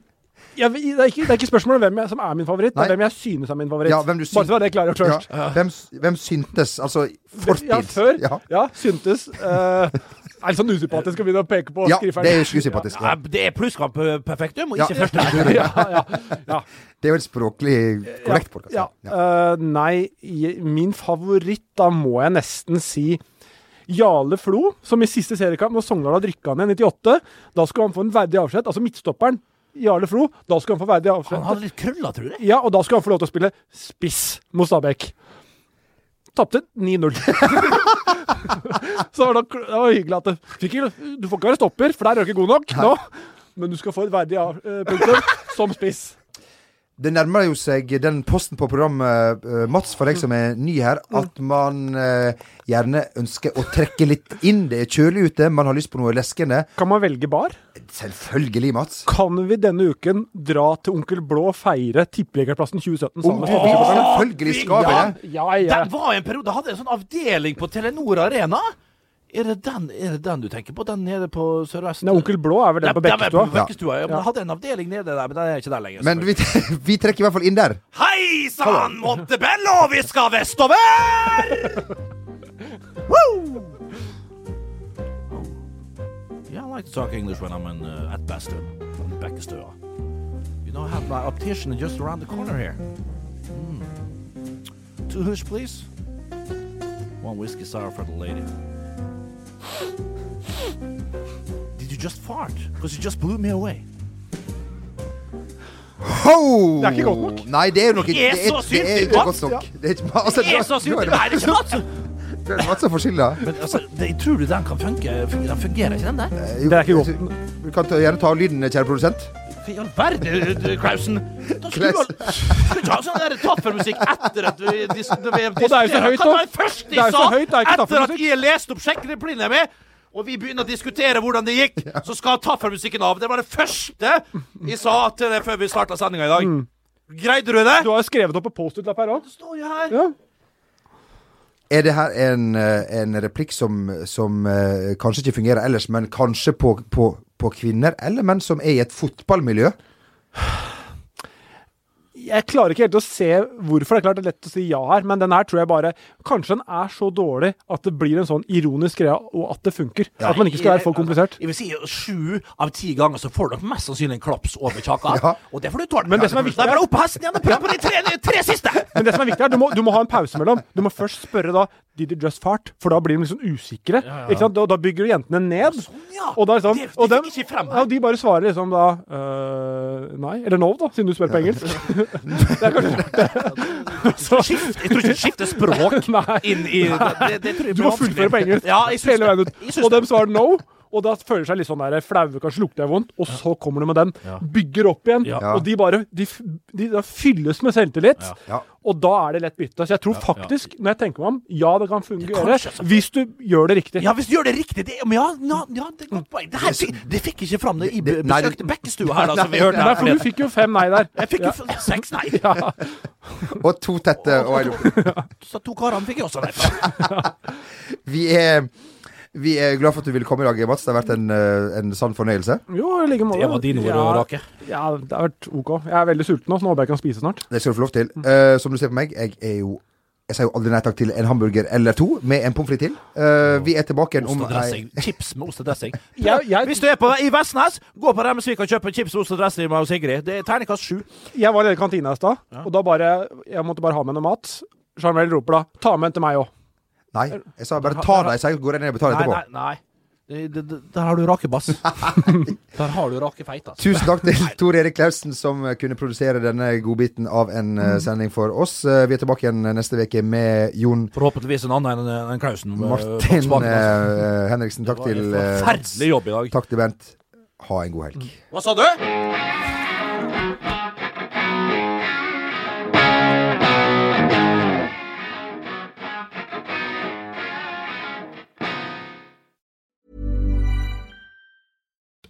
[SPEAKER 3] Jeg, vil- det, er ikke, det er ikke spørsmål om hvem jeg, som er min favoritt,
[SPEAKER 2] Nei.
[SPEAKER 3] det er hvem jeg synes er min favoritt.
[SPEAKER 2] Ja, hvem du
[SPEAKER 3] Bare så var det klargjort
[SPEAKER 2] Ja,
[SPEAKER 3] først.
[SPEAKER 2] hvem, hvem syntes? Altså fortid.
[SPEAKER 3] Ja, før.
[SPEAKER 2] Ja.
[SPEAKER 3] Ja, syntes. eh, er litt sånn usympatisk å begynne å peke på
[SPEAKER 2] Ja,
[SPEAKER 3] skriveren.
[SPEAKER 2] det er jo usympatisk.
[SPEAKER 1] Ja,
[SPEAKER 2] Ja.
[SPEAKER 1] det er plusskamp eh, perfektum, og
[SPEAKER 2] Ja.
[SPEAKER 1] ikke første.
[SPEAKER 3] ja, ja, ja.
[SPEAKER 2] Det er jo en språklig korrekt podcast.
[SPEAKER 3] Ja. Eh, nei, i- min favoritt, da må jeg nesten si Jarle Flo, som i siste seriekamp, når Sogndal hadde rykka ned i 98, da skulle han få en verdig avskjed. Altså midtstopperen Jarle Flo, da skulle han få verdig avskjed.
[SPEAKER 1] Han hadde litt krøller, tror jeg.
[SPEAKER 3] Ja, og da skulle han få lov til å spille spiss mot Stabæk. Tapte 9-0. så var det, det var hyggelig at det, fikk, ikke- Du får ikke være stopper, for der er du ikke god nok nå. Men du skal få et verdig av- eh, punktum som spiss.
[SPEAKER 2] Det nærmer jo seg den posten på programmet, eh, Mats, for deg som er ny her, at man eh, gjerne ønsker å trekke litt inn. Det er kjølig ute, man har lyst på noe leskende.
[SPEAKER 3] Kan man velge bar?
[SPEAKER 2] Selvfølgelig, Mats.
[SPEAKER 3] Kan vi denne uken dra til Onkel Blå og feire tippeligaplassen 2017
[SPEAKER 1] Om
[SPEAKER 3] sammen?
[SPEAKER 1] du vil,
[SPEAKER 2] selvfølgelig skal vi
[SPEAKER 3] det! Ja, ja,
[SPEAKER 1] Det var en periode, hadde en sånn avdeling på Telenor Arena. Er det den, er det den du tenker på? Den nede på Sør-Vest?
[SPEAKER 3] Nei, Onkel Blå er vel den på
[SPEAKER 1] Den er på
[SPEAKER 3] Bekkestua?
[SPEAKER 1] Bekkestua, ja. Men jeg hadde en avdeling nede der, men den er ikke der lenger.
[SPEAKER 2] Men vi, vi trekker i hvert fall inn der.
[SPEAKER 1] Hei sann, Montebello, vi skal vestover! Woo! Yeah, I like to talk English when I'm in, uh, at Bastø. I'm in Bekkestua. You know, I have my optician just around the corner here. Mm. Two hoosh, please. One whiskey sour for the lady. Did you just fart? Because you just blew me away.
[SPEAKER 2] Ho!
[SPEAKER 1] Det er ikke godt nok.
[SPEAKER 2] Nei, det er jo nok
[SPEAKER 1] Det er
[SPEAKER 2] ikke
[SPEAKER 1] så
[SPEAKER 2] Det er
[SPEAKER 1] syltynt,
[SPEAKER 2] ikke
[SPEAKER 1] Mats.
[SPEAKER 2] godt nok. Det er ikke altså,
[SPEAKER 1] Det er
[SPEAKER 2] da-
[SPEAKER 1] så syltynt.
[SPEAKER 2] nå det-
[SPEAKER 1] Nei, det er ikke Mats.
[SPEAKER 2] Det er Mats som får skylda.
[SPEAKER 1] Men altså, det, tror du den kan funke? Den fungerer ikke, den der?
[SPEAKER 2] Det er ikke godt. Du kan ta, gjerne ta av lyden, kjære produsent.
[SPEAKER 1] Hva i all verden, Klausen? Da skulle du ha- skulle ikke ha sånn der taffelmusikk etter at vi dis- når vi
[SPEAKER 3] Og det er jo så høyt,
[SPEAKER 1] Hva var
[SPEAKER 3] da.
[SPEAKER 1] det første
[SPEAKER 3] Det er
[SPEAKER 1] jeg
[SPEAKER 3] jo så
[SPEAKER 1] sa?
[SPEAKER 3] høyt, det er ikke
[SPEAKER 1] Etter at
[SPEAKER 3] taffelmusikk.
[SPEAKER 1] jeg leste opp sjekkereplikkene med, og vi begynner å diskutere hvordan det gikk, så skal taffelmusikken av. Det var det første jeg sa til det før vi starta sendinga i dag. Greide du det?
[SPEAKER 3] Mm. Du har jo skrevet opp på Post-It-lapp her òg.
[SPEAKER 1] Står jo her.
[SPEAKER 2] Er det her en, eh, en replikk som, som eh, kanskje ikke fungerer ellers, men kanskje på, på, på kvinner eller menn som er i et fotballmiljø?
[SPEAKER 3] Jeg klarer ikke helt å se hvorfor. Det er klart det er lett å si ja her, men den her tror jeg bare Kanskje den er så dårlig at det blir en sånn ironisk greie, og at det funker. At man ikke skal være for komplisert.
[SPEAKER 1] Jeg vil si sju av ti ganger så får dere mest sannsynlig en klaps over kjaka. Og det får du tåle.
[SPEAKER 3] Men det som er viktig
[SPEAKER 1] Da
[SPEAKER 3] er-
[SPEAKER 1] bare opp på hesten igjen og prøv på de tre, tre siste!
[SPEAKER 3] Men det som er viktig er, du må, du må ha en pause mellom. Du må først spørre da Did you just fart? For da blir de liksom usikre.
[SPEAKER 1] Ja, sånn, ja.
[SPEAKER 3] Ikke sant? Da, da bygger du jentene ned. Og da liksom og dem, ja, og de bare svarer liksom da øh, Nei. Eller no, da, siden du spør på engelsk. det er kanskje
[SPEAKER 1] Skift, jeg tror ikke skifte språk inn i det, det tror jeg
[SPEAKER 3] Du
[SPEAKER 1] blir
[SPEAKER 3] må fullføre
[SPEAKER 1] vanskelig.
[SPEAKER 3] på engelsk
[SPEAKER 1] Ja, jeg syns
[SPEAKER 3] hele veien
[SPEAKER 1] det.
[SPEAKER 3] ut. Og dem svarer no. Og da føler de seg litt sånn der flaue, kanskje lukter jeg vondt. Og så kommer de med den.
[SPEAKER 1] Ja.
[SPEAKER 3] Bygger opp igjen.
[SPEAKER 1] Ja.
[SPEAKER 3] Og de bare de, f- de, da fylles med selvtillit.
[SPEAKER 2] Ja.
[SPEAKER 3] Og da er det lett bytte. Så jeg tror
[SPEAKER 1] ja.
[SPEAKER 3] faktisk, når jeg tenker meg om, ja, det kan fungere.
[SPEAKER 1] kanskje, altså.
[SPEAKER 3] Hvis du gjør det riktig.
[SPEAKER 1] Ja, hvis du gjør det riktig det, men ja, ja, ja, det er et godt poeng. Det, her, fikk- det fikk ikke fram det i be-
[SPEAKER 3] nei, det-
[SPEAKER 1] besøkte bekkestua her, da, som vi hørte
[SPEAKER 3] Nei,
[SPEAKER 1] her.
[SPEAKER 3] for du fikk jo fem nei der.
[SPEAKER 1] Jeg fikk jo f- seks nei.
[SPEAKER 2] Og to tette og en
[SPEAKER 1] Så to karene fikk jeg også nei.
[SPEAKER 2] Vi er, vi er glad for at du ville komme i dag, Mats. Det har vært en, eh, en sann fornøyelse.
[SPEAKER 3] Jo, i like måte.
[SPEAKER 2] Det var dine ord, Rake.
[SPEAKER 3] Ja, det har vært OK. Jeg er veldig sulten nå, så nå håper jeg jeg kan spise snart.
[SPEAKER 2] Det skal du få lov til.
[SPEAKER 1] Mm.
[SPEAKER 2] Eh, som du ser på meg, jeg er jo jeg sier jo aldri nei takk til en hamburger eller to, med en pommes frites til. Eh, vi er tilbake igjen om
[SPEAKER 1] Ost og dressing.
[SPEAKER 2] ei
[SPEAKER 1] Chips med ost og dressing.
[SPEAKER 3] Jeg- jeg-
[SPEAKER 1] Hvis du er på, i Vestnes, gå på Remsvik og kjøp en chips, ost og dressing med Sigrid. Det er terningkast sju.
[SPEAKER 3] Jeg var nede i kantina i stad, og da bare Jeg måtte bare ha med noe mat. Charmel roper da 'ta med en til meg òg'.
[SPEAKER 2] Nei, jeg sa bare ta deg, så jeg går jeg ned og betaler
[SPEAKER 1] Nei,
[SPEAKER 2] etterpå.
[SPEAKER 1] nei, nei. Det, det, det, der har du rake bass. Der har du rake feit, altså.
[SPEAKER 2] Tusen takk til Tor Erik Klausen som eh, kunne produsere denne godbiten av en
[SPEAKER 1] Mm.
[SPEAKER 2] eh, sending for oss. Eh, Vi er tilbake igjen neste uke med Jon
[SPEAKER 1] Forhåpentligvis en annen enn enn Klausen. eh,
[SPEAKER 2] Martin
[SPEAKER 1] Baksbaken, altså.
[SPEAKER 2] eh, Henriksen. Takk
[SPEAKER 1] Det
[SPEAKER 2] til
[SPEAKER 1] var en
[SPEAKER 2] eh,
[SPEAKER 1] forferdelig jobb i dag.
[SPEAKER 2] Takk til Bent. Ha en god helg.
[SPEAKER 1] Hva sa du?